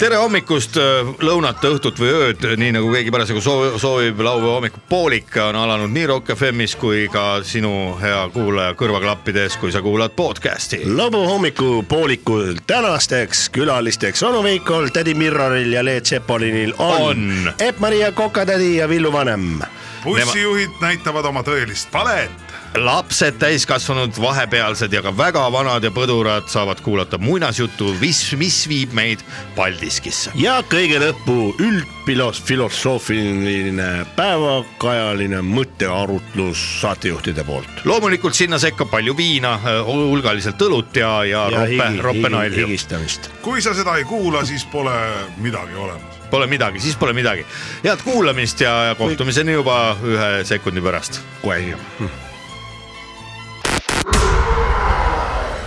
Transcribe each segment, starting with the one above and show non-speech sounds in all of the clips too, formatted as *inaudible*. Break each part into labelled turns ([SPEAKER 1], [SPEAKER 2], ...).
[SPEAKER 1] tere hommikust , lõunat , õhtut või ööd , nii nagu keegi parasjagu soovib, soovib , laupäeva hommikupoolik on alanud nii Rock FM-is kui ka sinu hea kuulaja kõrvaklappides , kui sa kuulad podcast'i .
[SPEAKER 2] lõbu hommikupoolikul tänasteks külalisteks onu Veikol , tädi Mirroril ja Leet Sepolinil on,
[SPEAKER 1] On.
[SPEAKER 2] on. Epp-Maria Kokatädi ja Villu Vanem .
[SPEAKER 3] bussijuhid näitavad oma tõelist palet .
[SPEAKER 1] lapsed , täiskasvanud , vahepealsed ja ka väga vanad ja põdurad saavad kuulata muinasjutu , mis , mis viib meid Paldiskisse .
[SPEAKER 2] ja kõige lõppu üldfilosoofiline päevakajaline mõttearutlus saatejuhtide poolt .
[SPEAKER 1] loomulikult sinna sekka palju viina , hulgaliselt õlut ja , ja, ja roppe , roppenalju .
[SPEAKER 2] higistamist .
[SPEAKER 3] kui sa seda ei kuula , siis pole midagi olemas .
[SPEAKER 1] Pole midagi , siis pole midagi . head kuulamist ja ja kohtumiseni juba ühe sekundi pärast
[SPEAKER 2] kohe hiljem .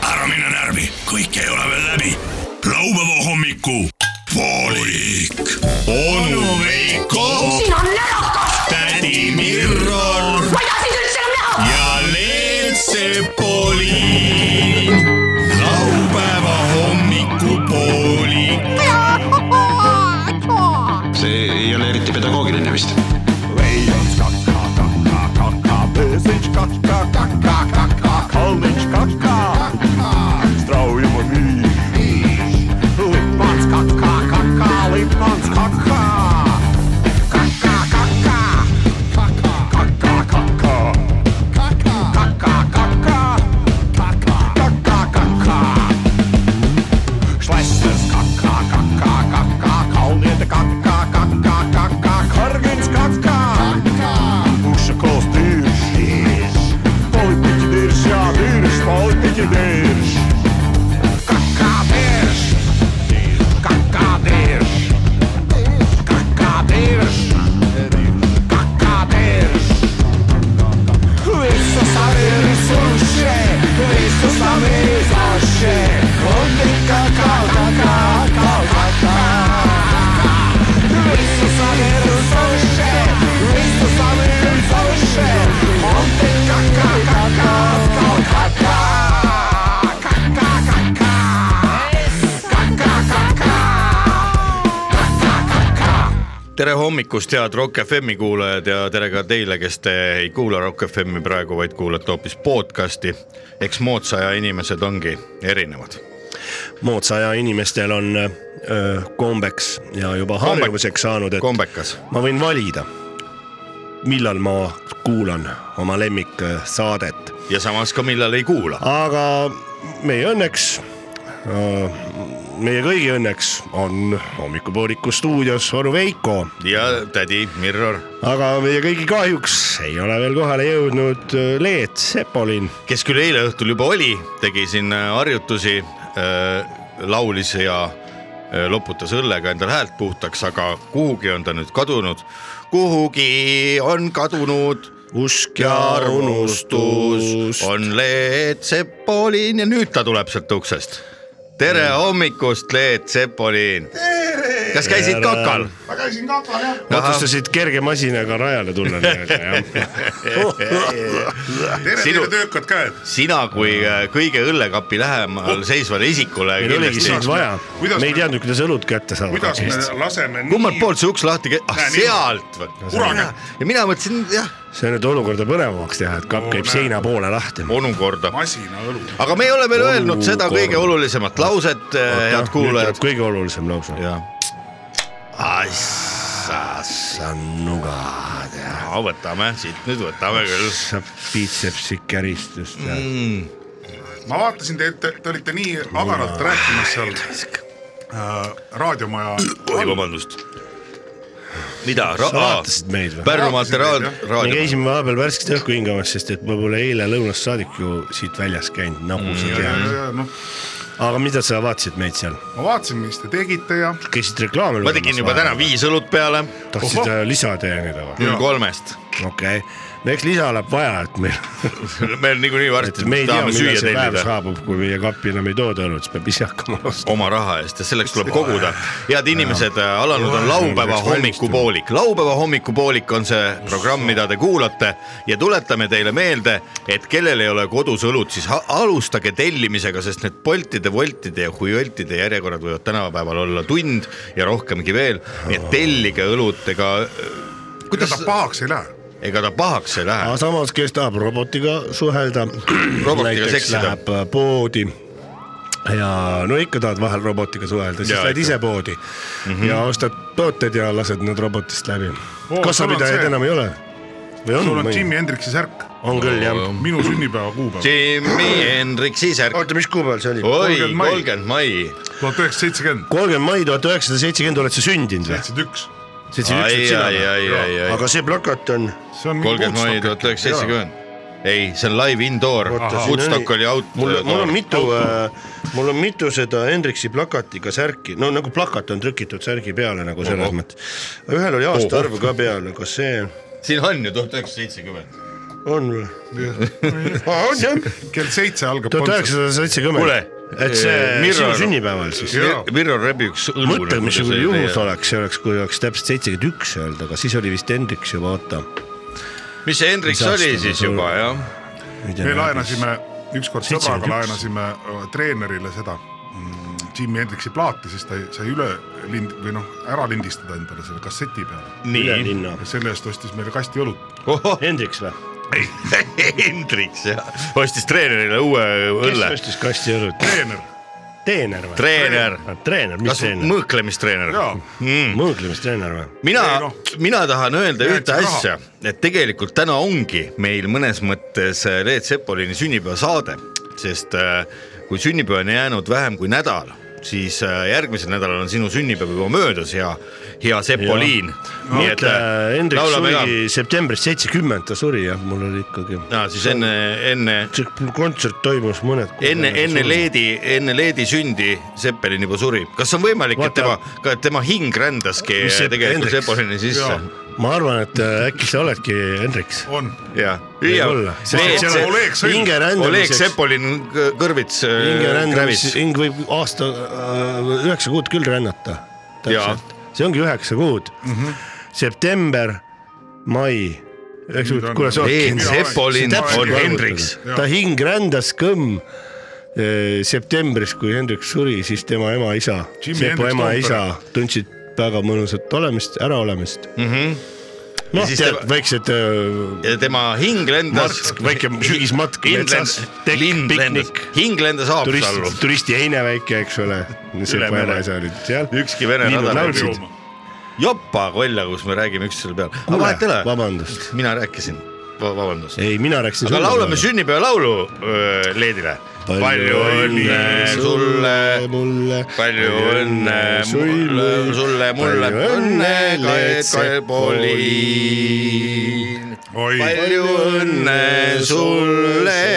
[SPEAKER 4] ära mine närvi , kõik ei ole veel läbi . laupäeva hommiku poolik . onu Veiko ,
[SPEAKER 5] siin on närakas ,
[SPEAKER 4] tädi Mirror
[SPEAKER 5] ma ei taha sind üldse enam näha .
[SPEAKER 4] ja Leet Sepoli . laupäeva hommiku poolik .
[SPEAKER 6] see ei ole eriti pedagoogiline vist .
[SPEAKER 7] Schweißes Kaka, Kaka, Kaka, Kaunierte Kaka, Kaka, Kaka, Kargens Kaka, Busche koos duurs, Politieke duurs, ja duurs, politieke duurs. Kaka duurs, Kaka duurs, Kaka duurs, Kaka duurs. Questo sale risorge, questo sale risorge, con il cacao, cacao, cacao, cacao. Questo sale risorge, questo sale risorge, con il cacao, cacao, cacao, cacao. Cacao, cacao. Cacao, cacao.
[SPEAKER 1] tere hommikust , head Rock FM-i kuulajad ja tere ka teile , kes te ei kuula Rock FM-i praegu , vaid kuulate hoopis podcast'i . eks moodsa aja inimesed ongi erinevad .
[SPEAKER 2] moodsa aja inimestel on öö, kombeks ja juba harjumuseks saanud , et
[SPEAKER 1] kombekas ,
[SPEAKER 2] ma võin valida , millal ma kuulan oma lemmiksaadet ,
[SPEAKER 1] ja samas ka millal ei kuula .
[SPEAKER 2] aga meie õnneks , meie kõigi õnneks on hommikupooliku stuudios onu Veiko ,
[SPEAKER 1] ja tädi Mirror ,
[SPEAKER 2] aga meie kõigi kahjuks ei ole veel kohale jõudnud öö, Leet Sepolin .
[SPEAKER 1] kes küll eile õhtul juba oli , tegi siin äh, harjutusi , laulis ja äh, loputas õllega endal häält puhtaks , aga kuhugi on ta nüüd kadunud . kuhugi on kadunud
[SPEAKER 2] usk
[SPEAKER 1] ja unustus . on Leet Sepolin ja nüüd ta tuleb sealt uksest . tere
[SPEAKER 2] Mm.
[SPEAKER 1] hommikust , Leet Sepolin . kas käisid
[SPEAKER 2] Tere.
[SPEAKER 1] kakal ?
[SPEAKER 3] ma käisin kakal jah .
[SPEAKER 2] otsustasid kerge masinaga rajale tulla nii-öelda
[SPEAKER 3] *laughs*
[SPEAKER 2] jah .
[SPEAKER 3] tere
[SPEAKER 1] Sinu-
[SPEAKER 3] teile , töökad käed .
[SPEAKER 1] sina kui äh, kõige õllekapi lähemal seisvale isikule
[SPEAKER 2] meil oligi sind
[SPEAKER 1] kindlasti .
[SPEAKER 2] vaja ,
[SPEAKER 3] Kuidas
[SPEAKER 2] me ei
[SPEAKER 3] me-
[SPEAKER 2] teadnud , kuidas õlut kätte saada .
[SPEAKER 3] kuidas me laseme
[SPEAKER 1] kummalt
[SPEAKER 3] nii
[SPEAKER 1] poolt see uks lahti käib , ah
[SPEAKER 3] Näe, nii.
[SPEAKER 1] sealt või ?
[SPEAKER 3] Kuraga.
[SPEAKER 1] ja mina mõtlesin jah ,
[SPEAKER 2] see nüüd olukorda põnevamaks teha , et kapp käib
[SPEAKER 3] Oh, näe. Oh,
[SPEAKER 2] seina poole lahti .
[SPEAKER 1] onu korda .
[SPEAKER 3] masinaõlu ?
[SPEAKER 1] aga me ei ole veel öelnud seda
[SPEAKER 2] Olukord.
[SPEAKER 1] kõige olulisemat lauset , head kuulajad .
[SPEAKER 2] kõige olulisem lause .
[SPEAKER 1] jah . assas ,
[SPEAKER 2] sannugad ja
[SPEAKER 1] võtame siit nüüd võtame küll .
[SPEAKER 2] saab piitsepsi käristust ja
[SPEAKER 1] Mm.
[SPEAKER 3] ma vaatasin teid , te olite nii agaralt rääkimas seal äh, raadiomaja .
[SPEAKER 1] oi , vabandust . mida ?
[SPEAKER 2] Sa vaatasid meid või?
[SPEAKER 1] Pärnu
[SPEAKER 3] Vaatasin
[SPEAKER 1] materiaal
[SPEAKER 3] teid, ,
[SPEAKER 2] me
[SPEAKER 1] raadio .
[SPEAKER 2] käisime vahepeal värsket õhku hingamas , sest et ma pole eile lõunast saadik ju siit väljas käinud , nagu sa
[SPEAKER 1] Mm.
[SPEAKER 2] tead .
[SPEAKER 3] noh ,
[SPEAKER 2] aga mida sa vaatasid meid seal ,
[SPEAKER 3] ma vaatasin , mis te tegite ja
[SPEAKER 2] käisid reklaame
[SPEAKER 1] ma tegin juba täna . viis õlut peale ,
[SPEAKER 2] tahtsid
[SPEAKER 3] Ohoh.
[SPEAKER 2] äh, lisada ja nii edasi ,
[SPEAKER 1] null kolmest .
[SPEAKER 2] okei okay. eks lisa läheb vaja , et
[SPEAKER 1] *laughs*
[SPEAKER 2] meil ,
[SPEAKER 1] meil niikuinii
[SPEAKER 2] et
[SPEAKER 1] varsti
[SPEAKER 2] me ei tea ,
[SPEAKER 1] tahame
[SPEAKER 2] millal
[SPEAKER 1] süüa
[SPEAKER 2] see päev
[SPEAKER 1] tellida
[SPEAKER 2] saabub , kui meie kappi enam ei tooda õlut , siis peab ise hakkama ostma .
[SPEAKER 1] oma raha eest ja selleks tuleb koguda . head inimesed , alanud on laupäeva hommikupoolik , laupäeva hommikupoolik on see programm , mida te kuulate ja tuletame teile meelde , et kellel ei ole kodus õlut , siis ha- alustage tellimisega , sest need Boltide , Woltide ja Huioltide järjekorrad võivad tänapäeval olla tund ja rohkemgi veel , nii et tellige õlut , ega äh,
[SPEAKER 3] kuidas ta pahaks ei lähe ?
[SPEAKER 1] ega ta pahaks ei lähe
[SPEAKER 2] aga . samas , kes tahab robotiga
[SPEAKER 1] *clears throat*
[SPEAKER 2] suhelda , näiteks
[SPEAKER 1] seksida.
[SPEAKER 2] läheb äh, poodi ja no ikka tahad vahel robotiga suhelda , siis
[SPEAKER 1] Jaa,
[SPEAKER 2] lähed
[SPEAKER 1] ikka. Mhm.
[SPEAKER 2] ise poodi mm -hmm. ja ostad tooted ja lased need robotist läbi
[SPEAKER 3] Oo,
[SPEAKER 2] oh, .
[SPEAKER 3] sul
[SPEAKER 2] kassapidajaid
[SPEAKER 3] on
[SPEAKER 2] enam ei ole või
[SPEAKER 3] sul
[SPEAKER 2] on
[SPEAKER 3] on ? Jimi Hendrixi särk ,
[SPEAKER 2] on küll jah .
[SPEAKER 3] minu sünnipäeva kuupäev ,
[SPEAKER 1] Jimi Hendrik Siisärk ,
[SPEAKER 2] oota , mis kuupäeval see oli ?
[SPEAKER 1] oi
[SPEAKER 3] 30 , mai.
[SPEAKER 1] kolmkümmend mai .
[SPEAKER 3] tuhat üheksasada seitsekümmend ,
[SPEAKER 2] kolmkümmend mai tuhat üheksasada seitsekümmend oled sa sündinud või ?
[SPEAKER 3] seitsekümmend üks .
[SPEAKER 1] ai , ai , ai , ai , ai .
[SPEAKER 2] aga see plakat on ,
[SPEAKER 3] see on
[SPEAKER 1] kolmkümmend mai tuhat üheksasada . seitsekümmend . ei , see on live indoor ,
[SPEAKER 2] Oota, siin
[SPEAKER 1] Woodstock
[SPEAKER 2] oli-
[SPEAKER 1] oli out . äh,
[SPEAKER 2] mul , mul on mitu , mul on mitu seda Hendriksi plakatiga särki , no nagu plakat on trükitud särgi peale nagu selles
[SPEAKER 1] Ohoh.
[SPEAKER 2] mõttes . ühel oli aastaarv ka peal , kas see
[SPEAKER 1] siin on ju tuhat üheksasada seitsekümmend .
[SPEAKER 2] on või ? on jah ,
[SPEAKER 3] kell seitse algab
[SPEAKER 2] tuhat
[SPEAKER 3] kontsert ,
[SPEAKER 2] üheksasada
[SPEAKER 1] Kuule,
[SPEAKER 2] seitsekümmend . et see
[SPEAKER 1] Mirror-
[SPEAKER 2] sinu sünnipäeval siis .
[SPEAKER 3] Jaa.
[SPEAKER 1] Mirro rebib üks nagu õlu .
[SPEAKER 2] mõtle , missugune juhus oleks , see oleks , kui oleks täpselt seitsekümmend üks öelda , aga siis oli vist Hendriks juba , oota .
[SPEAKER 1] mis see Hendrik
[SPEAKER 2] Mis
[SPEAKER 1] oli
[SPEAKER 2] aasta
[SPEAKER 1] siis
[SPEAKER 2] ta
[SPEAKER 1] juba
[SPEAKER 2] tuli?
[SPEAKER 1] jah ?
[SPEAKER 3] me laenasime , ükskord sõbraga
[SPEAKER 2] 71.
[SPEAKER 3] laenasime äh, treenerile seda mm, Jimi Hendrixi plaati , siis ta sai üle lind- või noh , ära lindistada endale selle kasseti peale
[SPEAKER 1] nii ,
[SPEAKER 2] ülelinna
[SPEAKER 3] ja . selle eest ostis meile kasti õlut .
[SPEAKER 1] *laughs*
[SPEAKER 2] Hendriks või ?
[SPEAKER 1] Hendrik jah , ostis treenerile uue
[SPEAKER 2] kes
[SPEAKER 1] õlle .
[SPEAKER 2] ostis kasti õlut ?
[SPEAKER 3] treener ,
[SPEAKER 2] teener või ?
[SPEAKER 1] treener ,
[SPEAKER 2] treener , mis
[SPEAKER 1] kas Mm.
[SPEAKER 2] treener ?
[SPEAKER 1] mõõklemistreener ?
[SPEAKER 3] jaa ,
[SPEAKER 2] mõõglemistreener või ?
[SPEAKER 1] mina
[SPEAKER 3] Ei, noh. ,
[SPEAKER 1] mina tahan öelda
[SPEAKER 3] Jäid
[SPEAKER 1] ühte
[SPEAKER 3] sa raha.
[SPEAKER 1] asja , et tegelikult täna ongi meil mõnes mõttes äh, Leet Sepolini sünnipäevasaade , sest äh, kui sünnipäev on jäänud vähem kui nädal , siis äh, järgmisel nädalal on sinu sünnipäev juba möödas ja hea Sepoliin . nii et
[SPEAKER 2] mõtle ,
[SPEAKER 1] äh,
[SPEAKER 2] Hendrik
[SPEAKER 1] laulame ka .
[SPEAKER 2] suri septembris seitsekümmend , ta suri jah , mul oli ikkagi .
[SPEAKER 1] no siis enne , enne ,
[SPEAKER 2] see kontsert toimus mõned .
[SPEAKER 1] enne , enne . Leedi , enne Leedi sündi Sepolin juba suri . kas on võimalik , et
[SPEAKER 2] Vaata-
[SPEAKER 1] tema , ka tema hing rändaski
[SPEAKER 2] Mis see
[SPEAKER 1] tegelikult
[SPEAKER 2] Hendrik-
[SPEAKER 1] Sepolini sisse
[SPEAKER 3] Jaa. ?
[SPEAKER 2] ma arvan , et äh, äkki sa oledki Hendriks .
[SPEAKER 3] on ,
[SPEAKER 1] jah , hüüame .
[SPEAKER 3] Oleg Sõlm.
[SPEAKER 2] hinge
[SPEAKER 1] Oleg
[SPEAKER 2] rändamiseks ,
[SPEAKER 1] Sepolin kõ- kõrvits
[SPEAKER 2] hinge
[SPEAKER 1] äh,
[SPEAKER 2] rändamiseks ,
[SPEAKER 1] krävis .
[SPEAKER 2] hing võib aasta äh, üheksa kuud küll rännata .
[SPEAKER 1] Jaa. Mhm.
[SPEAKER 2] täpselt , see ongi üheksa kuud mm . -hmm. september , mai , üheksa kuud
[SPEAKER 3] on- ,
[SPEAKER 2] kuule sa
[SPEAKER 1] Leet
[SPEAKER 2] oled .
[SPEAKER 1] Sepolin
[SPEAKER 2] See täpselt
[SPEAKER 1] on
[SPEAKER 2] arvutada.
[SPEAKER 1] Hendriks .
[SPEAKER 2] ta hing rändas kõmm eh, septembris , kui Hendrik suri , siis tema ema-isa ,
[SPEAKER 3] Jimi
[SPEAKER 2] Sepo
[SPEAKER 3] Hendrix
[SPEAKER 2] ema-isa tundsid väga mõnusat olemist , äraolemist mm . -hmm. noh ,
[SPEAKER 1] Mhm. siis
[SPEAKER 2] tead
[SPEAKER 1] tema-
[SPEAKER 2] väiksed eh,
[SPEAKER 1] ja tema hing lendas
[SPEAKER 2] matk ,. väike sügismatk metsas , tekk , piknik ,
[SPEAKER 1] hing lendas Haapsallu
[SPEAKER 2] turist ,. turisti heine väike , eks ole . Sepo
[SPEAKER 1] mere.
[SPEAKER 2] ema-isa olid seal .
[SPEAKER 1] ükski vene
[SPEAKER 2] Linnud
[SPEAKER 1] nädal ei
[SPEAKER 2] laulsid.
[SPEAKER 1] jõua . jopa kolja , kus me räägime üksteisele peale . aga
[SPEAKER 2] kuule
[SPEAKER 1] vahet ei , ole ,
[SPEAKER 2] vabandust ,
[SPEAKER 1] mina rääkisin , vabandust .
[SPEAKER 2] ei , mina rääkisin .
[SPEAKER 1] aga laulame sünnipäevalaulu öö, Leedile . palju õnne sulle
[SPEAKER 2] mulle ,
[SPEAKER 1] palju õnne mulle , sulle , mulle õnne , Kaepoliin .
[SPEAKER 3] oi ,
[SPEAKER 1] palju õnne sulle .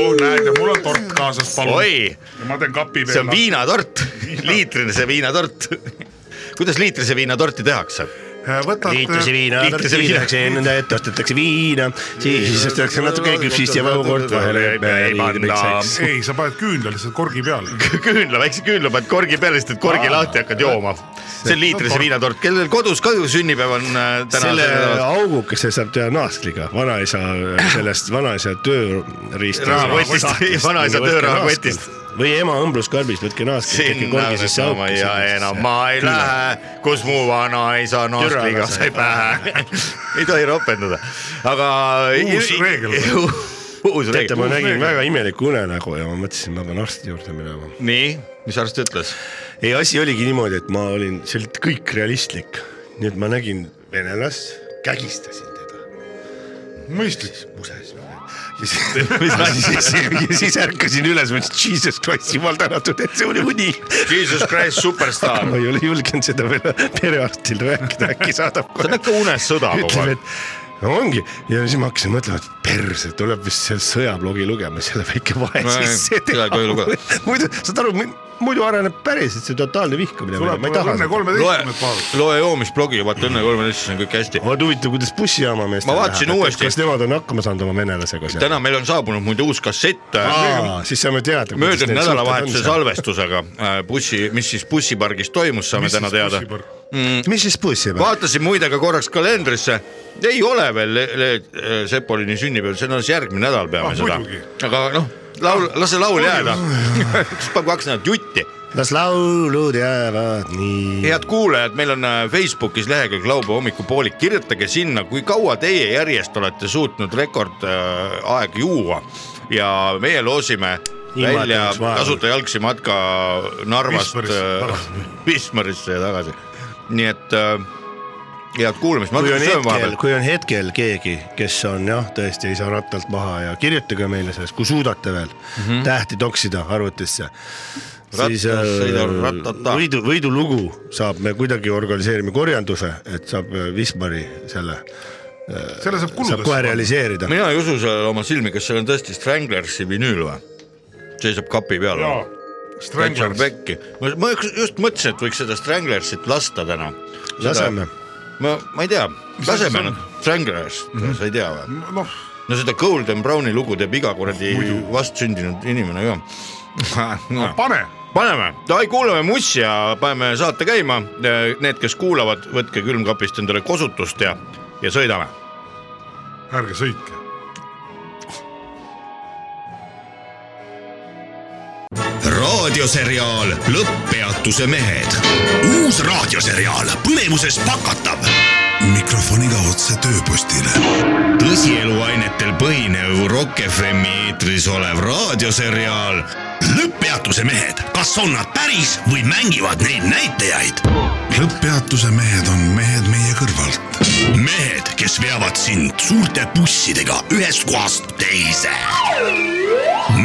[SPEAKER 3] oh näed ja mul on tort kaasas , palun .
[SPEAKER 1] oi ,
[SPEAKER 3] ja ma teen kapi
[SPEAKER 1] see on
[SPEAKER 3] veel .
[SPEAKER 1] viinatort , liitrise viinatort . kuidas liitrise viinatorti tehakse ?
[SPEAKER 3] võtad äh,
[SPEAKER 2] liitlase , viina ,
[SPEAKER 1] Liitlase
[SPEAKER 2] liitlase
[SPEAKER 1] viina.
[SPEAKER 2] viina , enda ette ostetakse viina , siis ostetakse natuke küpsist ja vahukord vahele
[SPEAKER 1] Ei panda. .
[SPEAKER 3] ei , sa paned küünla lihtsalt korgi peale .
[SPEAKER 1] küünla , väikse küünla paned korgi peale , siis teed korgi lahti , hakkad jooma . see on liitrise viinatort , kellel kodus ka ju sünnipäev on äh, täna .
[SPEAKER 2] selle augukese saab teha naasliga , vanaisa sellest vanaisa tööriistast .
[SPEAKER 1] Rahakotist, *laughs* vanaisa töörahakotist. .
[SPEAKER 2] või ema õmbluskarbist , võtke naask , tehke
[SPEAKER 1] sinna
[SPEAKER 2] korgi sisse
[SPEAKER 1] ma ja enam ma ei
[SPEAKER 2] Küll.
[SPEAKER 1] lähe , kus mu vanaisa nostriga
[SPEAKER 2] Türaga
[SPEAKER 1] sai
[SPEAKER 2] sai
[SPEAKER 1] pähe . *laughs* ei tohi ropendada , aga .
[SPEAKER 3] Uus reegel.
[SPEAKER 1] uus
[SPEAKER 2] teate , ma
[SPEAKER 1] reegel ,
[SPEAKER 2] nägin väga imelikku unenägu ja ma mõtlesin , ma pean arsti juurde minema .
[SPEAKER 1] nii , mis arst ütles ?
[SPEAKER 2] ei , asi oligi niimoodi , et ma olin , see oli kõik realistlik , nii et ma nägin venelast , kägistasin teda
[SPEAKER 3] mõistlik .
[SPEAKER 2] muses . ja *laughs* siis , ja siis, ja siis ärkasin üles , mõtlesin , jesus christ , jumal tänatud , et see oli uni .
[SPEAKER 1] Jesus Christ superstaar .
[SPEAKER 2] ma ei ole julgenud seda veel perearstile rääkida , äkki saadab
[SPEAKER 1] see on
[SPEAKER 2] kohe .
[SPEAKER 1] *laughs* ikka unes sõda kogu aeg .
[SPEAKER 2] ütleb , et no ongi ja siis ma hakkasin mõtlema , et perse , tuleb vist seal sõjablogi lugema , selle väike vahe
[SPEAKER 1] Nojah,
[SPEAKER 2] sisse
[SPEAKER 1] seda ei tohi lugeda.
[SPEAKER 2] *laughs* muidu saad aru , muidu areneb päriselt see totaalne vihkamine .
[SPEAKER 3] tuleb
[SPEAKER 2] ma ei
[SPEAKER 3] mulle
[SPEAKER 2] taha
[SPEAKER 3] Õnne .
[SPEAKER 1] loe
[SPEAKER 3] kolmeteistkümnendat vaadata .,
[SPEAKER 1] loe joomisblogi , vaata Õnne kolmeteistkümnes on kõik hästi .
[SPEAKER 2] vaat huvitav , kuidas bussijaama meestel
[SPEAKER 1] Ma vaatasin
[SPEAKER 2] läheb, et
[SPEAKER 1] uuesti.
[SPEAKER 2] kas nemad on hakkama saanud oma venelasega seal ?
[SPEAKER 1] täna meil on saabunud muide uus kassett äh,
[SPEAKER 2] Aa, siis saame teada .
[SPEAKER 1] möödunud nädalavahetuse . salvestusega äh, bussi , mis siis bussipargis toimus , saame täna teada .
[SPEAKER 2] mis siis bussi peab ?
[SPEAKER 1] vaatasin muide ka korraks kalendrisse , ei ole veel Le- Le- Sepolini sünnipäev , see on alles järgmine nädal peame
[SPEAKER 3] Ah,
[SPEAKER 1] seda
[SPEAKER 3] muidugi. ,
[SPEAKER 1] aga noh , laul , las see laul jääda , *laughs* üks paneb kaks nädalat jutti .
[SPEAKER 2] las laulud jäävad nii .
[SPEAKER 1] head kuulajad , meil on äh, Facebookis lehekülg laupäeva hommikupoolik , kirjutage sinna , kui kaua teie järjest olete suutnud rekordaega juua ja meie loosime
[SPEAKER 2] Ilma, et
[SPEAKER 1] välja
[SPEAKER 2] oleks vaja
[SPEAKER 1] tasuta jalgsi matka Narvast
[SPEAKER 3] Wismarisse
[SPEAKER 1] äh,
[SPEAKER 3] tagasi.
[SPEAKER 1] Wismarisse ja tagasi . nii et äh, head kuulamist , ma
[SPEAKER 2] kui on
[SPEAKER 1] hakkan sööma
[SPEAKER 2] hetkel ,
[SPEAKER 1] vahepeal .
[SPEAKER 2] kui on hetkel keegi , kes on jah , tõesti ei saa rattalt maha ja kirjutage meile sellest , kui suudate veel mm -hmm. tähti toksida arvutisse . siis äh,
[SPEAKER 1] sõidab rattata.
[SPEAKER 2] võidu , võidulugu saab , me kuidagi organiseerime korjanduse , et saab äh, Wismari selle ,
[SPEAKER 3] selle saab
[SPEAKER 2] saab kohe
[SPEAKER 3] kuludesse .
[SPEAKER 2] realiseerida .
[SPEAKER 1] mina ei usu sellele oma silmi , kas seal on tõesti Stranglersi vinüül või ? seisab kapi peal .
[SPEAKER 3] Stranglers ,
[SPEAKER 1] ma ma just mõtlesin , et võiks seda Stranglersit lasta täna .
[SPEAKER 2] laseme ,
[SPEAKER 1] ma , ma ei tea , laseme
[SPEAKER 3] asi see Mhm.
[SPEAKER 1] nad , Stranglers mm , -hmm. sa ei tea või ?
[SPEAKER 3] noh ,
[SPEAKER 1] no seda Golden Browni lugu teeb iga kuradi vastsündinud inimene
[SPEAKER 3] *laughs*
[SPEAKER 1] ka .
[SPEAKER 3] pane ,
[SPEAKER 1] paneme , davai , kuulame Mussi ja paneme saate käima . Need , kes kuulavad , võtke külmkapist endale kosutust ja , ja sõidame .
[SPEAKER 3] ärge sõitke .
[SPEAKER 4] raadioseriaal Lõpppeatuse mehed . uus raadioseriaal põnevuses pakatav . mikrofoniga otse tööpostile . tõsieluainetel põhinev Rock FM-i eetris olev raadioseriaal Lõpppeatuse mehed , kas on nad päris või mängivad neid näitajaid ? lõpppeatuse mehed on mehed meie kõrvalt . mehed , kes veavad sind suurte bussidega ühest kohast teise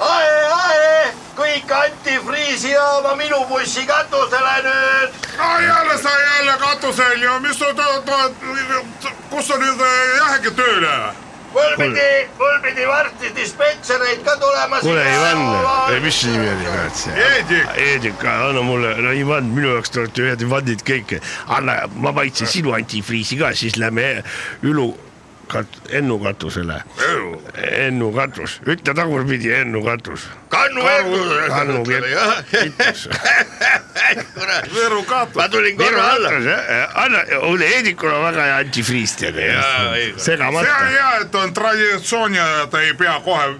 [SPEAKER 8] ae , ae , kõik antifriisi jooma minu bussi katusele nüüd .
[SPEAKER 3] no jälle sa jälle katusel ja mis sa tahad , kus sa nüüd äh, lähedki tööle ?
[SPEAKER 8] mul pidi , mul pidi varsti dispetšereid ka tulema .
[SPEAKER 2] kuule Ivan , ei mis su nimi oli , kurat see ?
[SPEAKER 3] Eedik ,
[SPEAKER 2] Eedika , anna mulle , no Ivan , minu jaoks te olete ühed Ivanid kõik . anna , ma maitsen sinu antifriisi ka , siis lähme Ülu kat- , Ennu katusele . Ennu katus , ütle tagurpidi Ennu katus .
[SPEAKER 8] kannu
[SPEAKER 2] Kannu kepp .
[SPEAKER 3] Võru katus .
[SPEAKER 8] ma tulin
[SPEAKER 2] Viru
[SPEAKER 8] korra alla .
[SPEAKER 2] katus , anna , ole Eedikul on väga hea antifriis tead .
[SPEAKER 3] see on
[SPEAKER 2] segamata .
[SPEAKER 3] hea , et on traditsioon ja ta ei pea kohe ,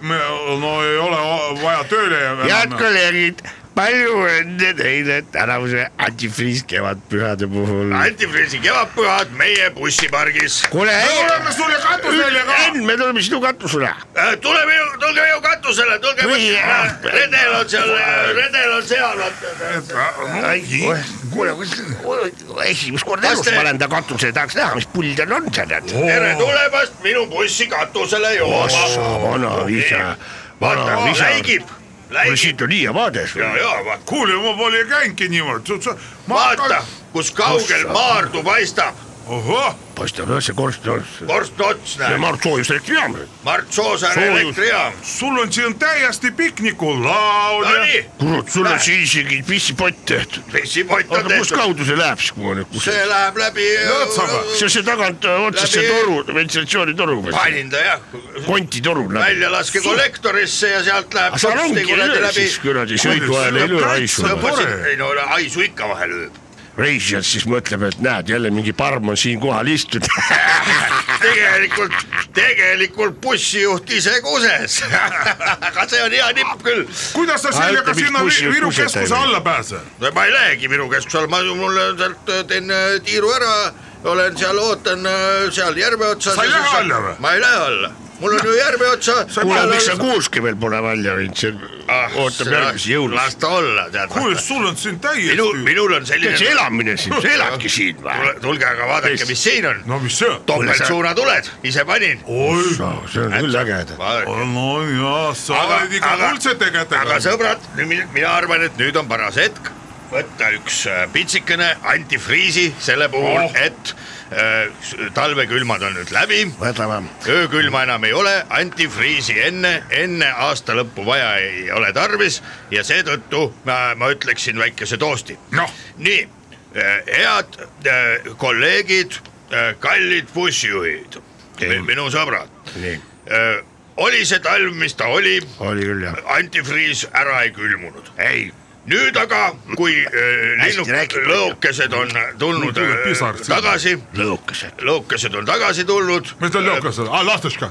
[SPEAKER 3] no ei ole o- vaja tööle .
[SPEAKER 2] head kolleegid , palju õnne teile tänavuse antifriis kevadpühade puhul .
[SPEAKER 8] antifriisi kevadpühad meie bussipargis .
[SPEAKER 2] kuule ,
[SPEAKER 3] tuleme sulle katusele ka .
[SPEAKER 2] Enn , me tuleme sinu katusele
[SPEAKER 8] tule minu , tulge minu katusele , tulge
[SPEAKER 2] Või-
[SPEAKER 8] bussi , redel on seal , eh, redel on seal .
[SPEAKER 2] kuule , esimest korda
[SPEAKER 8] elus ma
[SPEAKER 2] olen ta katuse tahaks näha , mis pull tal on seal .
[SPEAKER 8] tere tulemast minu bussi katusele jooma .
[SPEAKER 2] vana isa , vana isa .
[SPEAKER 8] eh, läigib ,
[SPEAKER 2] kuule ,
[SPEAKER 8] läigib
[SPEAKER 2] siit on hea vaade .
[SPEAKER 8] ja , ja vaata .
[SPEAKER 3] kuule , ma pole käinudki niimoodi .
[SPEAKER 8] vaata , kus kaugel
[SPEAKER 2] Ossa.
[SPEAKER 8] Maardu paistab ,
[SPEAKER 3] ohoh ,
[SPEAKER 2] paistab jah , see korst on .
[SPEAKER 8] Korst Ots
[SPEAKER 2] see
[SPEAKER 8] näeb ,
[SPEAKER 2] Mart Soojus läks jaama .
[SPEAKER 8] Mart Soosaare
[SPEAKER 2] Soojus.
[SPEAKER 8] elektrijaam .
[SPEAKER 3] sul on siin täiesti piknikulaud ja
[SPEAKER 8] Nonii ,
[SPEAKER 2] kurat , sul on siin isegi pissipott tehtud .
[SPEAKER 8] pissipott on
[SPEAKER 2] oota , kus
[SPEAKER 8] tehtud ,
[SPEAKER 2] kaudu see läheb siis , kuhu nüüd , kus see ,
[SPEAKER 8] see läheb läbi .
[SPEAKER 3] Lõõtsaga.
[SPEAKER 2] see , see tagant äh, otsas see
[SPEAKER 8] Läbi-
[SPEAKER 2] toru , ventilatsioonitoru või ?
[SPEAKER 8] panin ta jah ,
[SPEAKER 2] kontitoru läheb .
[SPEAKER 8] väljalaskekollektorisse ja sealt läheb .
[SPEAKER 2] seal ongi löö siis kuradi , sõidu ajal ei löö haisu .
[SPEAKER 3] Tore.
[SPEAKER 8] ei no haisu ikka vahel lööb ,
[SPEAKER 2] reisijad siis mõtleb , et näed jälle mingi parm on siinkohal
[SPEAKER 8] *laughs*
[SPEAKER 2] istunud .
[SPEAKER 8] tegelikult , tegelikult bussijuht ise kuses . *laughs* aga see on hea nipp küll ,
[SPEAKER 3] kuidas sa
[SPEAKER 2] ütle,
[SPEAKER 3] sellega
[SPEAKER 2] miks
[SPEAKER 3] sinna Vi-
[SPEAKER 2] bussi-
[SPEAKER 3] Viru
[SPEAKER 2] bussi
[SPEAKER 3] keskuse
[SPEAKER 2] ei
[SPEAKER 3] alla pääsed ?
[SPEAKER 8] ma ei lähegi Viru keskusele , ma ju- mul sealt äh, teen äh, tiiru ära olen seal , ootan äh, seal järve otsas .
[SPEAKER 3] Sa ei lähe alla või?
[SPEAKER 8] ma ei lähe alla , mul on ju järve otsa .
[SPEAKER 2] kuule , miks sa kuuski veel pole välja viinud , see ootab järgmisi
[SPEAKER 8] Ah, las
[SPEAKER 2] jõulast .
[SPEAKER 8] ta olla , tead .
[SPEAKER 3] kuule , sul on siin täiesti
[SPEAKER 8] minul , minul on selline .
[SPEAKER 2] see elamine siin , sa eladki siin või ?
[SPEAKER 8] tulge aga vaadake ,
[SPEAKER 2] Mis-
[SPEAKER 8] mis siin on .
[SPEAKER 3] no mis see on ?
[SPEAKER 8] topeltsuunatuled , ise panin .
[SPEAKER 2] see on küll äge .
[SPEAKER 8] vaadake ,
[SPEAKER 3] no jaa , sa
[SPEAKER 8] Aga-
[SPEAKER 3] oled ikka
[SPEAKER 8] aga-
[SPEAKER 3] kuldsete
[SPEAKER 8] aga
[SPEAKER 3] kätega .
[SPEAKER 8] sõbrad , mina arvan , et nüüd on paras hetk võtta üks äh, pitsikene antifriisi selle puhul
[SPEAKER 3] Oh.
[SPEAKER 8] oh. , et äh, s- talvekülmad on nüüd läbi ,
[SPEAKER 2] võtame .
[SPEAKER 8] öökülma enam ei ole , antifriisi enne , enne aasta lõppu vaja ei ole tarvis ja seetõttu ma, ma ütleksin väikese toosti .
[SPEAKER 3] Noh.
[SPEAKER 8] nii , head äh, kolleegid , kallid bussijuhid , minu sõbrad ,
[SPEAKER 2] nii ,
[SPEAKER 8] oli see talv , mis ta oli ,
[SPEAKER 2] oli küll jah .
[SPEAKER 8] antifriis ära ei külmunud .
[SPEAKER 2] ei ,
[SPEAKER 8] nüüd aga , kui äh, linnu-
[SPEAKER 2] räägib.
[SPEAKER 8] lõokesed on tulnud
[SPEAKER 3] Mul tuleb
[SPEAKER 8] äh,
[SPEAKER 3] pisar silma.
[SPEAKER 8] tagasi ,
[SPEAKER 2] lõõkased .
[SPEAKER 8] lõokesed on tagasi tulnud .
[SPEAKER 3] mis ta oli , kas , aa , Lahtuška .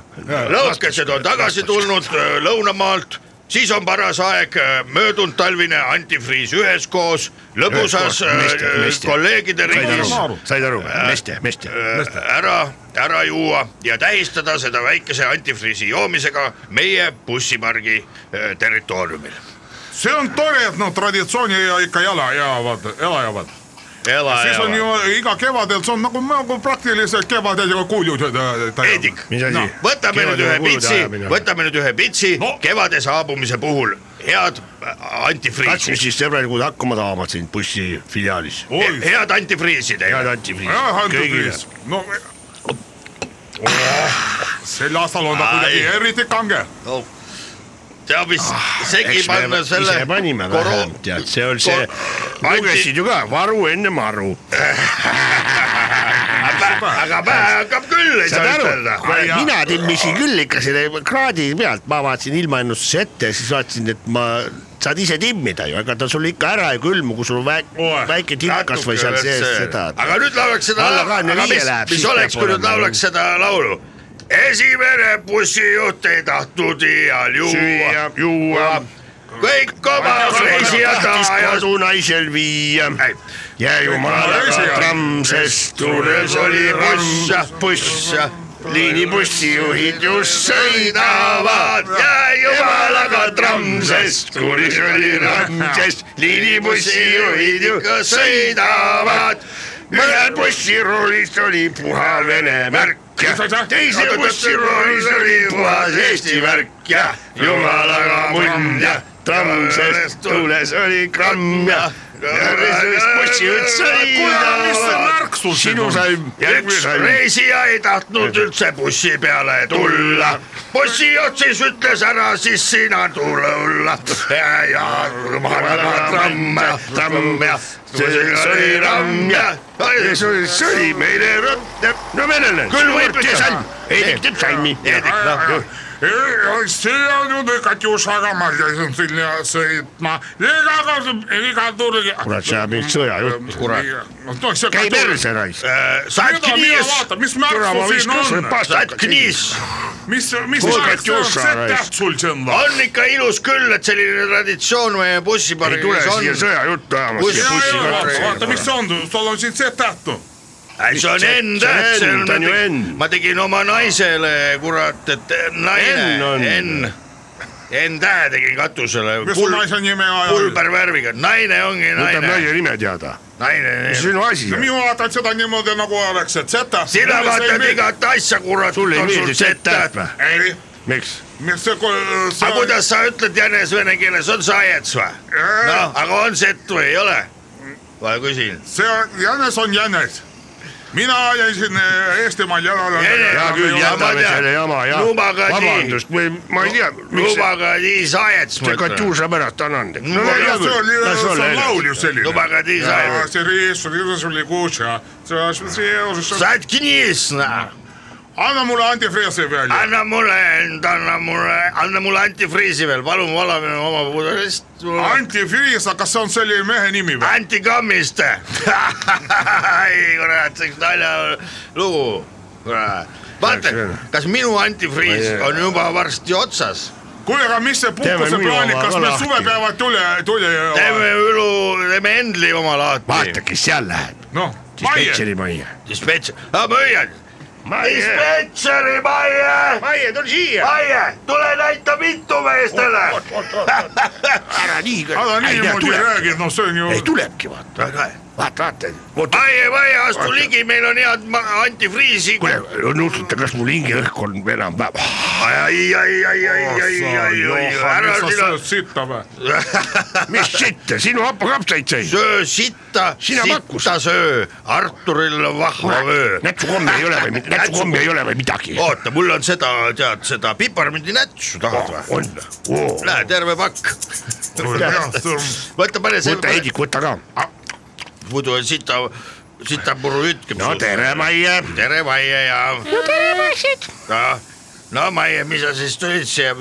[SPEAKER 8] lõõkesed on tagasi tulnud öö, lõunamaalt , siis on paras aeg öö, möödunud talvine antifriis üheskoos lõbusas
[SPEAKER 2] Üheskoos,
[SPEAKER 8] öö,
[SPEAKER 2] meeste,
[SPEAKER 8] öö,
[SPEAKER 2] meeste.
[SPEAKER 8] kolleegide
[SPEAKER 2] said
[SPEAKER 8] ringis
[SPEAKER 2] aru , said aru , meeste , meeste .
[SPEAKER 8] öö, ära , ära juua ja tähistada seda väikese antifriisi joomisega meie bussipargi öö, territooriumil .
[SPEAKER 3] see on tore , et noh , traditsiooni ja ikka jala jäävad , jala jäävad . siis on ju äh, iga kevadel , see on nagu , nagu praktiliselt kevadel kuulud .
[SPEAKER 8] Heidik.
[SPEAKER 2] mis asi
[SPEAKER 3] No, ?
[SPEAKER 8] võtame nüüd ühe pitsi , võtame nüüd ühe pitsi no. kevade saabumise puhul , head äh,
[SPEAKER 2] katsume
[SPEAKER 8] antifriisi ,
[SPEAKER 2] siis sõbralikud hakkama saama siin bussifiliaalis .
[SPEAKER 3] oi ,
[SPEAKER 8] head antifriisi
[SPEAKER 2] head
[SPEAKER 8] teile .
[SPEAKER 3] jah ,
[SPEAKER 2] antifriis kõigile .
[SPEAKER 3] antifriis , no . sel aastal on ta kuidagi
[SPEAKER 8] Ai.
[SPEAKER 3] eriti kange .
[SPEAKER 8] teab , mis segi
[SPEAKER 2] Ah, eks me
[SPEAKER 8] panna selle
[SPEAKER 2] ise panime
[SPEAKER 8] koro-
[SPEAKER 2] vähem , tead , see on see ,
[SPEAKER 8] Anti-
[SPEAKER 2] lugesid ju ka , varu enne maru .
[SPEAKER 8] aga aga pähe hakkab küll , ei
[SPEAKER 2] saad
[SPEAKER 8] saa
[SPEAKER 2] aru
[SPEAKER 8] ütelda ,.
[SPEAKER 2] mina timmisin küll ikka selle kraadi pealt , ma vaatasin ilmaennustuse ette ja siis vaatasin , et ma , saad ise timmida ju , ega ta sul ikka ära ei külmu , kui sul väike , väike tilk kasvõi seal sees seda .
[SPEAKER 8] aga nüüd laulaks seda
[SPEAKER 2] Alla , kahekümne
[SPEAKER 8] aga
[SPEAKER 2] viie
[SPEAKER 8] mis ,
[SPEAKER 2] läheb,
[SPEAKER 8] mis
[SPEAKER 2] siis
[SPEAKER 8] oleks ,
[SPEAKER 2] peab
[SPEAKER 8] kui nüüd
[SPEAKER 2] olema.
[SPEAKER 8] laulaks seda laulu ? esimene bussijuht ei tahtnud iial juua
[SPEAKER 2] Süüa, , juua.
[SPEAKER 8] kõik oma reisijad ajas
[SPEAKER 2] kodunaisel viia
[SPEAKER 8] Ei.
[SPEAKER 2] ja jumalaga tramm , sest tules oli buss , buss , liinibussijuhid just sõidavad ja jumalaga tramm , sest tules oli tramm , sest liinibussijuhid ikka sõidavad . ühel bussiroolis oli puha Vene märk ja teisel bussiroolis oli puhas Eesti värk ja jumalaga munn ja tramm , sest tuules oli gramm ja järgmises bussijuht
[SPEAKER 3] kuule , mis see
[SPEAKER 2] sõidab .
[SPEAKER 3] märk sul siin
[SPEAKER 2] sinu
[SPEAKER 3] on ?
[SPEAKER 2] sain , järgmine
[SPEAKER 8] üks
[SPEAKER 2] sain .
[SPEAKER 8] reisija ei tahtnud üldse bussi peale tulla . bussijuht siis ütles ära , siis sina tule olla . ja , ja jumalaga tramm ja tramm ja
[SPEAKER 2] see oli ramm ja see oli , see oli meile ramm , no venelane .
[SPEAKER 8] Küll võib ikka.
[SPEAKER 2] Heidik teeb salmi .
[SPEAKER 9] э,
[SPEAKER 3] see on ju Katjušaga , ma käisin sinna sõitma , iga kord , iga turg .
[SPEAKER 2] kurat , see ajab mind sõjajutt , kurat .
[SPEAKER 3] no see
[SPEAKER 2] käi . perse raisk .
[SPEAKER 8] saad
[SPEAKER 3] mida mina
[SPEAKER 8] kniis ,
[SPEAKER 3] vaatan , mis
[SPEAKER 2] kurat ,
[SPEAKER 3] märk
[SPEAKER 2] ma
[SPEAKER 3] sul siin
[SPEAKER 2] viskan sulle
[SPEAKER 3] on ?
[SPEAKER 8] saad
[SPEAKER 2] pastaka .
[SPEAKER 8] kniis ,
[SPEAKER 3] mis , mis
[SPEAKER 2] Kuule,
[SPEAKER 3] märk see on ,
[SPEAKER 2] Katjuša
[SPEAKER 3] see
[SPEAKER 2] raisk.
[SPEAKER 3] täht sul siin on ?
[SPEAKER 8] on ikka ilus küll , et selline traditsioon meie
[SPEAKER 2] ei tule
[SPEAKER 8] bussipargis
[SPEAKER 2] siia
[SPEAKER 8] on .
[SPEAKER 2] sõjajuttu ajama ,
[SPEAKER 8] Kus-
[SPEAKER 2] siia noh.
[SPEAKER 3] jaa , jaa , vaata , vaata ,
[SPEAKER 2] bussiga .
[SPEAKER 3] mis see on , tal on siin see täht on .
[SPEAKER 8] see on
[SPEAKER 2] see-
[SPEAKER 8] N
[SPEAKER 2] see on
[SPEAKER 8] täht , see
[SPEAKER 2] N, ta on ju
[SPEAKER 8] on
[SPEAKER 2] N. ,
[SPEAKER 8] ma tegin oma naisele , kurat , et eh,
[SPEAKER 2] N on.
[SPEAKER 8] naine , N , N tähe tegin katusele .
[SPEAKER 3] mis su naise nime on ?
[SPEAKER 8] pulbervärviga , naine ongi
[SPEAKER 2] võtab
[SPEAKER 8] naine ,
[SPEAKER 2] naine nime teada .
[SPEAKER 8] naine .
[SPEAKER 2] mis sinu asi on ?
[SPEAKER 3] mina vaatan seda niimoodi nagu oleks , et see täht .
[SPEAKER 8] sina vaatad . igat asja , kurat .
[SPEAKER 2] sulle ei meeldi see täht või ?
[SPEAKER 9] э,
[SPEAKER 3] ei ,
[SPEAKER 2] miks ?
[SPEAKER 3] mis see , see
[SPEAKER 8] aga kuidas sa ütled jänes vene keeles , on saiets või ?
[SPEAKER 9] э,
[SPEAKER 8] noh , aga on sett või ei ole ? ma küsin .
[SPEAKER 3] see on- jänes on jänes . mina jäisin eh,
[SPEAKER 9] э,
[SPEAKER 3] Eestimaal jalale .
[SPEAKER 8] Jänes.
[SPEAKER 2] hea küll ,
[SPEAKER 8] Ja ma
[SPEAKER 2] jätame
[SPEAKER 8] tean.
[SPEAKER 2] selle jama ja
[SPEAKER 8] Lubage nii.
[SPEAKER 2] vabandust , või ma ei tea , miks see,
[SPEAKER 8] lubage nii saiets , ma
[SPEAKER 2] see
[SPEAKER 8] ütlen .
[SPEAKER 2] Katjuša pärast on andnud .
[SPEAKER 8] No ja
[SPEAKER 3] see oli , see on laul ju selline .
[SPEAKER 8] lubage nii saiets .
[SPEAKER 3] see riis , riis oli kuutša .
[SPEAKER 8] saad kinnisna ,
[SPEAKER 3] anna mulle antifriisi välja .
[SPEAKER 8] anna mulle end , anna mulle , anna mulle antifriisi veel , palun valame oma pudelist .
[SPEAKER 3] antifriis , aga see on selle mehe nimi või ?
[SPEAKER 8] Anti Kammiste . *laughs* ei kurat , see üks naljalugu , kurat . vaata
[SPEAKER 2] Läks üle. ,
[SPEAKER 8] kas minu antifriis
[SPEAKER 2] Ma ei-
[SPEAKER 8] on juba varsti otsas .
[SPEAKER 3] kuule , aga mis see puhkuse
[SPEAKER 2] minu
[SPEAKER 3] plaanid ,
[SPEAKER 2] oma
[SPEAKER 3] kas
[SPEAKER 2] ka
[SPEAKER 3] me
[SPEAKER 2] lahti.
[SPEAKER 3] suvepäevad tule , tule .
[SPEAKER 8] teeme Ülu , teeme Endli oma lahti .
[SPEAKER 2] vaata , kes seal läheb .
[SPEAKER 3] noh , Maie ,
[SPEAKER 2] dispetšeri majja .
[SPEAKER 8] dispetš , aa ma hoian , dispetšeri Maie ,
[SPEAKER 2] Maie , tule siia .
[SPEAKER 8] Maie , tule näita vittu meestele .
[SPEAKER 2] ära nii .
[SPEAKER 3] aga niimoodi räägid , noh , see on ju
[SPEAKER 2] ei . tulebki vaata , vaata , vaata .
[SPEAKER 8] Maie , Maie , astu ligi , meil on head ma- antifriisi . *laughs*
[SPEAKER 2] kuule , nõustute , kas mul hingeõhk on enam-vähem ?
[SPEAKER 8] ai , ai , ai , ai , ai , ai , ai , ära
[SPEAKER 3] sa
[SPEAKER 8] sina
[SPEAKER 3] sööd sitta või ?
[SPEAKER 2] mis sitta , sinu hapakapsaid sai .
[SPEAKER 8] söö sitta ,
[SPEAKER 2] Sina
[SPEAKER 8] sitta
[SPEAKER 2] pakkus.
[SPEAKER 8] söö , Arturil on vahva vöö .
[SPEAKER 2] nätsukommi ei ole või , nätsukommi ei ole või midagi ?
[SPEAKER 8] oota , mul on seda , tead seda piparmündinätsu tahad või ?
[SPEAKER 2] on .
[SPEAKER 8] näe , terve pakk . noh, vaata ,
[SPEAKER 2] võta
[SPEAKER 8] pane selle ,
[SPEAKER 2] Heidik , võta ka .
[SPEAKER 8] muidu on sita , sitapuru ütkeb .
[SPEAKER 2] no tere , Maie .
[SPEAKER 8] tere , Maie ja . no tere , Massid . no Maie , mis sa siis tulid siia ,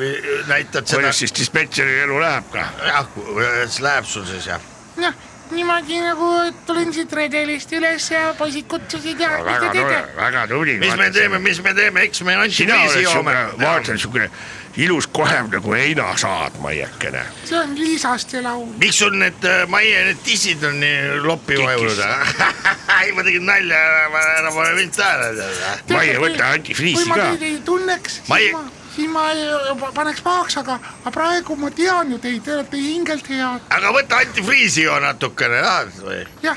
[SPEAKER 8] näitad seda
[SPEAKER 2] kuidas , siis dispetšeri elu läheb ka ?
[SPEAKER 8] jah , kuidas läheb sul siis jah ?
[SPEAKER 10] noh , niimoodi nagu tulin siit redelist üles ja poisid kutsusid ja
[SPEAKER 2] väga tore , väga tubli .
[SPEAKER 8] mis me teeme ,? mis me teeme , eks me
[SPEAKER 2] sina
[SPEAKER 8] antifriisi
[SPEAKER 2] oled
[SPEAKER 8] joome
[SPEAKER 2] siuke ,. vaata siuke ilus kohev nagu heinasaad , Maiekene .
[SPEAKER 10] see on Liisaste laul .
[SPEAKER 8] miks sul need äh, Maie need tissid on nii loppi vajunud ? *laughs* ei , ma tegin nalja , ära pane mind tähele .
[SPEAKER 2] Maie , võta antifriisi
[SPEAKER 10] kui ma
[SPEAKER 2] ka .
[SPEAKER 10] teid ei tunneks , siis
[SPEAKER 8] Ma
[SPEAKER 10] ma,
[SPEAKER 8] ei-
[SPEAKER 10] ma , siis ma ei- pa- paneks pahaks , aga , aga praegu ma tean ju teid , te olete hingelt head .
[SPEAKER 8] aga võta antifriisi joo natukene , tahad või ?
[SPEAKER 10] jah ,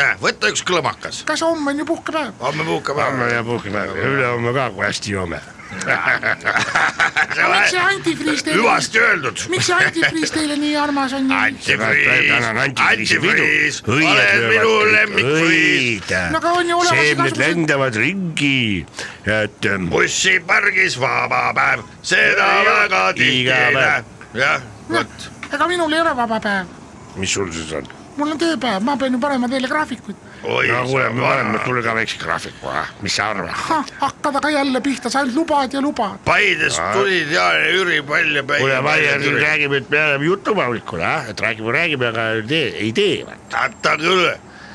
[SPEAKER 8] näe , võta üks klõmakas ,
[SPEAKER 10] kas homme on ju puhkepäev ?
[SPEAKER 8] homme puhkame
[SPEAKER 2] homme ja puhkeme , ülehomme ka , kui hästi joome .
[SPEAKER 10] miks see
[SPEAKER 8] ära .
[SPEAKER 10] antifriis teile ,
[SPEAKER 8] hüvasti öeldud .
[SPEAKER 10] miks see antifriis teile nii armas on ?
[SPEAKER 2] Tänan antifriisi
[SPEAKER 8] antifriis ,
[SPEAKER 2] pidu. Õied
[SPEAKER 8] oled
[SPEAKER 2] löövad
[SPEAKER 8] minu
[SPEAKER 2] kõik.
[SPEAKER 8] lemmikfriis .
[SPEAKER 2] õid .
[SPEAKER 10] no aga on ju olemas
[SPEAKER 2] seemned
[SPEAKER 10] igasugused ,
[SPEAKER 2] lendavad ringi , et ähm,
[SPEAKER 8] bussipargis vaba päev , seda väga tihti
[SPEAKER 2] Iga
[SPEAKER 8] ei näe
[SPEAKER 2] päev. .
[SPEAKER 8] jah , vot ,
[SPEAKER 10] ega minul ei ole vaba päev ,
[SPEAKER 2] mis sul siis on ?
[SPEAKER 10] mul on tööpäev , ma pean ju panema teile graafikuid .
[SPEAKER 8] oi
[SPEAKER 2] no kuule , me paneme
[SPEAKER 8] vana.
[SPEAKER 2] sulle ka nagu väikse graafiku , mis sa arvad ?
[SPEAKER 7] Ah,
[SPEAKER 10] hakkad aga jälle pihta , sa ainult lubad ja lubad .
[SPEAKER 8] Paides tulid ja Jüri pall ja päi- .
[SPEAKER 2] kuule , Maie , siin räägime , et me oleme jutupaulikul , et räägime , räägime , aga ei tee , ei tee .
[SPEAKER 8] ta küll ,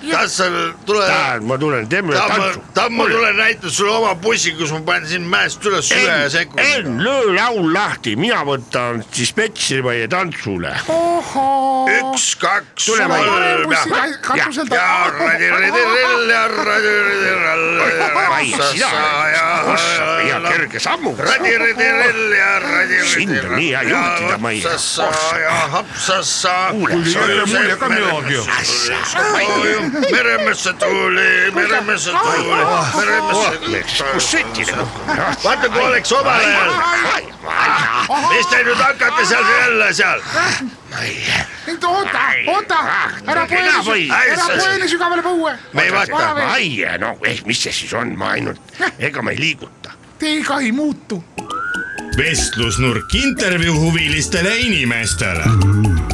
[SPEAKER 8] kas sa tule ,
[SPEAKER 2] tahad , ma tulen , teeme ühe
[SPEAKER 8] Tammo
[SPEAKER 2] tantsu .,
[SPEAKER 8] Tammo , tule näita sulle oma bussi , kus ma panen sind mäest üles üle ja sekkunud .
[SPEAKER 2] Enn , löö laul lahti , mina võtan dispetšeri Maie tantsule .
[SPEAKER 10] ohoo .
[SPEAKER 8] üks , kaks ,
[SPEAKER 2] Tule, Maie.
[SPEAKER 8] kolm ja ,
[SPEAKER 10] katuselt
[SPEAKER 8] ja radiridirill ja
[SPEAKER 2] Maie , sina oled hea
[SPEAKER 8] radiridirill .
[SPEAKER 2] kerge sammu .
[SPEAKER 8] radiridirell ja radiridirill .
[SPEAKER 2] Sind on nii hea juhtida, Maie.
[SPEAKER 8] hapsassa ja hapsassa .
[SPEAKER 2] Kuule,
[SPEAKER 3] jälle mulje ka midagi. .
[SPEAKER 8] meremesse tuli , meremesse tuli , meremesse tuli .
[SPEAKER 2] kus sõtile .
[SPEAKER 8] vaata , kui oleks omal ajal , mis te nüüd hakkate seal jälle seal ,
[SPEAKER 10] oota , oota , ära poe
[SPEAKER 2] Ära
[SPEAKER 10] nii
[SPEAKER 2] või. ,
[SPEAKER 10] ära poe nii sügavale põue .
[SPEAKER 8] me ei vaata .
[SPEAKER 2] Maie , no eh, mis see siis on , ma ainult , ega ma ei liiguta .
[SPEAKER 10] teiega ei muutu .
[SPEAKER 4] vestlusnurk intervjuu huvilistele inimestele .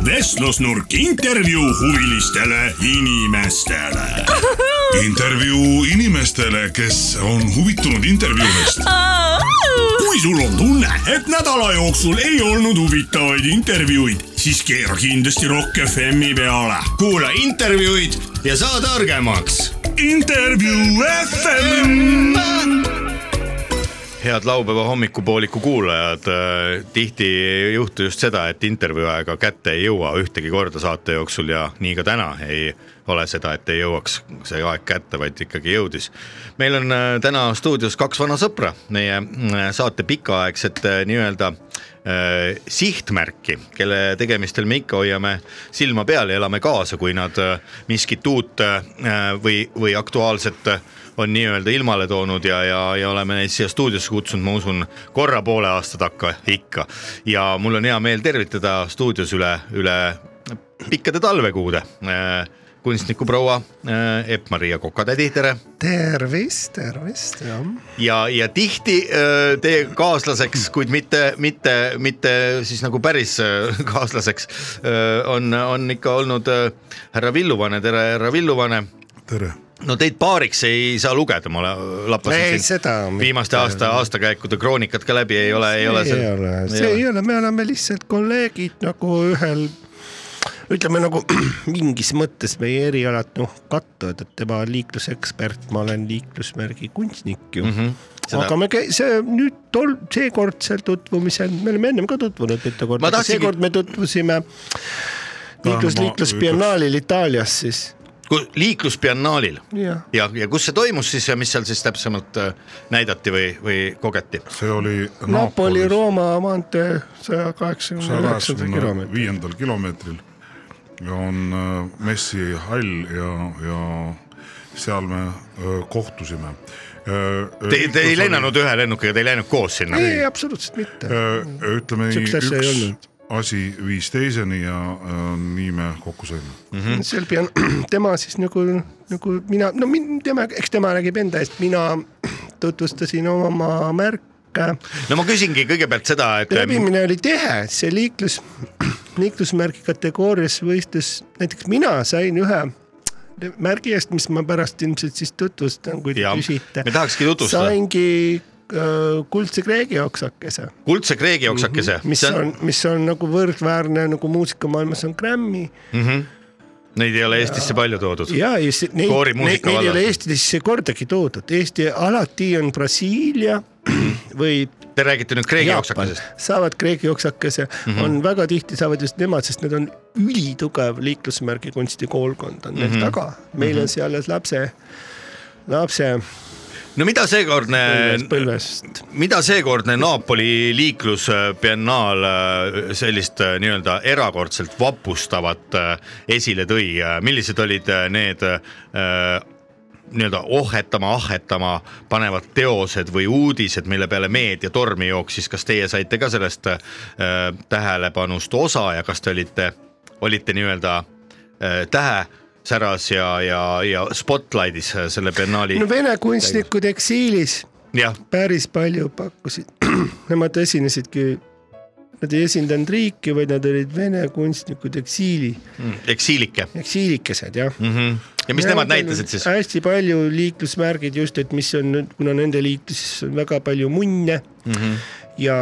[SPEAKER 4] vestlusnurk intervjuu huvilistele inimestele .
[SPEAKER 11] intervjuu inimestele , kes on huvitunud intervjuudest .
[SPEAKER 4] kui sul on tunne , et nädala jooksul ei olnud huvitavaid intervjuuid , siis keera kindlasti Rock FM-i peale . kuula intervjuud ja saa targemaks . intervjuu FM .
[SPEAKER 1] head laupäeva hommikupooliku kuulajad , tihti ei juhtu just seda , et intervjuu aega kätte ei jõua ühtegi korda saate jooksul ja nii ka täna ei ole seda , et ei jõuaks see aeg kätte , vaid ikkagi jõudis . meil on äh, täna stuudios kaks vana sõpra , meie mm, saate pikaaegset äh, nii-öelda äh, sihtmärki , kelle tegemistel me ikka hoiame silma peal ja elame kaasa , kui nad äh, miskit uut äh, või , või aktuaalset äh, on nii-öelda ilmale toonud ja , ja , ja oleme neid siia stuudiosse kutsunud , ma usun , korra poole aasta takka ikka . ja mul on hea meel tervitada stuudios üle , üle pikkade talvekuude äh, kunstnikuproua äh, Epp-Maria Kokatädi , tere .
[SPEAKER 9] tervist , tervist , jah .
[SPEAKER 1] ja , ja tihti äh, teie kaaslaseks , kuid mitte , mitte , mitte siis nagu päris äh, kaaslaseks äh, on , on ikka olnud äh, härra Villuvane , tere härra Villuvane
[SPEAKER 11] tere .
[SPEAKER 1] no teid paariks ei saa lugeda , ma la- lappasin
[SPEAKER 9] ei ,
[SPEAKER 1] siin
[SPEAKER 9] seda .
[SPEAKER 1] viimaste aasta , aastakäikude kroonikat ka läbi ei ole , ei ole
[SPEAKER 9] see . ei ole , see ei ole , me oleme lihtsalt kolleegid nagu ühel , ütleme nagu *clears throat* mingis mõttes meie erialad noh kattuvad , et tema on liiklusekspert , ma olen liiklusmärgi kunstnik ju mm . -hmm
[SPEAKER 1] seda-
[SPEAKER 9] Seda. aga me käi- , see nüüd tol , seekordsel tutvumisel , me oleme ennem ka tutvunud mitu korda , aga
[SPEAKER 1] tahtsingi-
[SPEAKER 9] seekord me tutvusime
[SPEAKER 3] ma
[SPEAKER 9] liiklus , liiklusbiennaalil Itaalias siis .
[SPEAKER 1] liiklusbiennaalil
[SPEAKER 9] Jah.
[SPEAKER 1] ja , ja kus see toimus siis ja mis seal siis täpsemalt äh, näidati või , või kogeti ?
[SPEAKER 3] see oli
[SPEAKER 9] Napoli-Rooma maantee saja kaheksakümne üheksanda kilomeetri .
[SPEAKER 3] kaheksakümne viiendal kilomeetril ja on äh, messi hall ja , ja seal me äh, kohtusime . Äh,
[SPEAKER 1] Te , te ei lennanud ühe lennukiga , te ei läinud koos sinna ?
[SPEAKER 9] ei , absoluutselt mitte .
[SPEAKER 3] äh, ütleme nii ,
[SPEAKER 9] Sihukest asja ei olnud.
[SPEAKER 3] üks asi viis teiseni ja äh, nii me kokku saime mm .
[SPEAKER 9] -hmm. seal pean tema siis nagu , nagu mina , no min- tema , eks tema räägib enda eest , mina tutvustasin oma märke .
[SPEAKER 1] no ma küsingi kõigepealt seda , et ähm,
[SPEAKER 9] läbimine oli tihe , see liiklus , liiklusmärgi kategoorias võistlus , näiteks mina sain ühe märgi eest , mis ma pärast ilmselt siis tutvustan , kui te
[SPEAKER 1] Jaa,
[SPEAKER 9] küsite .
[SPEAKER 1] me tahakski tutvustada.
[SPEAKER 9] saingi öö, kuldse kreegi oksakese .
[SPEAKER 1] kuldse kreegi oksakese mm , -hmm.
[SPEAKER 9] Mhm, mis on , mis on nagu võrdväärne nagu muusikamaailmas on Grammy
[SPEAKER 1] mm . -hmm. Neid ei ole Eestisse palju toodud .
[SPEAKER 9] ja , ja see- neid , neid, neid ei ole Eestisse kordagi toodud , Eesti alati on Brasiilia
[SPEAKER 1] *clears throat*
[SPEAKER 9] või
[SPEAKER 1] Te räägite nüüd kreegi
[SPEAKER 9] Jaapan
[SPEAKER 1] oksakesest .
[SPEAKER 9] saavad Kreeki oksakese mm ,
[SPEAKER 1] Mhm.
[SPEAKER 9] -hmm. on väga tihti saavad just nemad , sest need on ülitugev liiklusmärgi kunstikoolkond on neil mm
[SPEAKER 1] Mhm.
[SPEAKER 9] -hmm. taga , meil on
[SPEAKER 1] Mhm.
[SPEAKER 9] see alles lapse , lapse
[SPEAKER 1] no mida seekordne ,
[SPEAKER 9] põlvest
[SPEAKER 1] mida seekordne Napoli liiklusbiennaal äh, sellist äh, nii-öelda erakordselt vapustavat äh, esile tõi , millised olid äh, need äh, nii-öelda ohhetama , ahhetama panevad teosed või uudised , mille peale meedia tormi jooksis , kas teie saite ka sellest äh, tähelepanust osa ja kas te olite , olite nii-öelda äh, tähesäras ja , ja , ja spotlight'is äh, selle biennaali
[SPEAKER 9] no vene kunstnikud eksiilis
[SPEAKER 1] jah ,
[SPEAKER 9] päris palju pakkusid , *clears throat* nemad esinesidki , nad ei esindanud riiki , vaid nad olid vene kunstnikud eksiili
[SPEAKER 1] eksiilike
[SPEAKER 9] eksiilikesed jah
[SPEAKER 1] mm . -hmm. ja mis nemad näitasid siis ?
[SPEAKER 9] hästi palju liiklusmärgid just , et mis on , kuna nende liikluses on väga palju munne
[SPEAKER 1] mm -hmm.
[SPEAKER 9] ja ,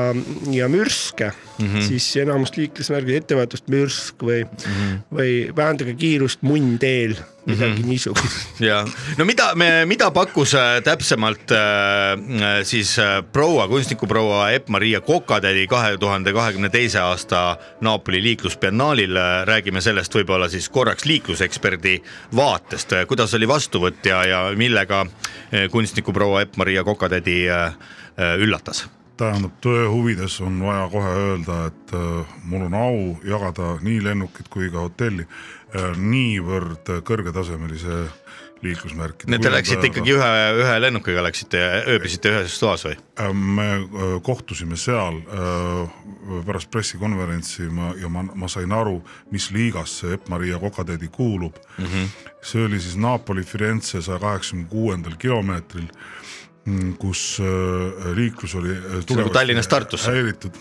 [SPEAKER 9] ja mürske mm ,
[SPEAKER 1] Mhm.
[SPEAKER 9] -hmm. siis enamus liiklusmärgid , ettevaatust mürsk või mm ,
[SPEAKER 1] Mhm.
[SPEAKER 9] -hmm. või vähendage kiirust munn teel , midagi mm
[SPEAKER 1] Mhm.
[SPEAKER 9] -hmm.
[SPEAKER 1] *laughs*
[SPEAKER 9] niisugust .
[SPEAKER 1] ja no mida me , mida pakkus äh, täpsemalt äh, siis äh, proua , kunstnikuproua Epp-Maria Kokatädi kahe tuhande kahekümne teise aasta Napoli liiklusbiennaalil , räägime sellest võib-olla siis korraks liikluseksperdi vaatest , kuidas oli vastuvõtt ja , ja millega äh, kunstnikuproua Epp-Maria Kokatädi äh, äh, üllatas
[SPEAKER 3] tähendab , tõe huvides on vaja kohe öelda , et äh, mul on au jagada nii lennukit kui ka hotelli äh, niivõrd äh, kõrgetasemelise liiklusmärkide .
[SPEAKER 1] Nii et te läksite ikkagi ühe , ühe lennukiga läksite , ööbisite ühes toas või ?
[SPEAKER 3] me äh, kohtusime seal äh, pärast pressikonverentsi ma, ja ma , ma sain aru , mis liigas see Epp-Maria Kokatädi kuulub mm .
[SPEAKER 1] Mhm.
[SPEAKER 3] -hmm. see oli siis Napoli Firenze saja kaheksakümne kuuendal kilomeetril , kus äh, liiklus oli äh, tugevasti
[SPEAKER 1] Tallinnast Tartusse.
[SPEAKER 3] häiritud .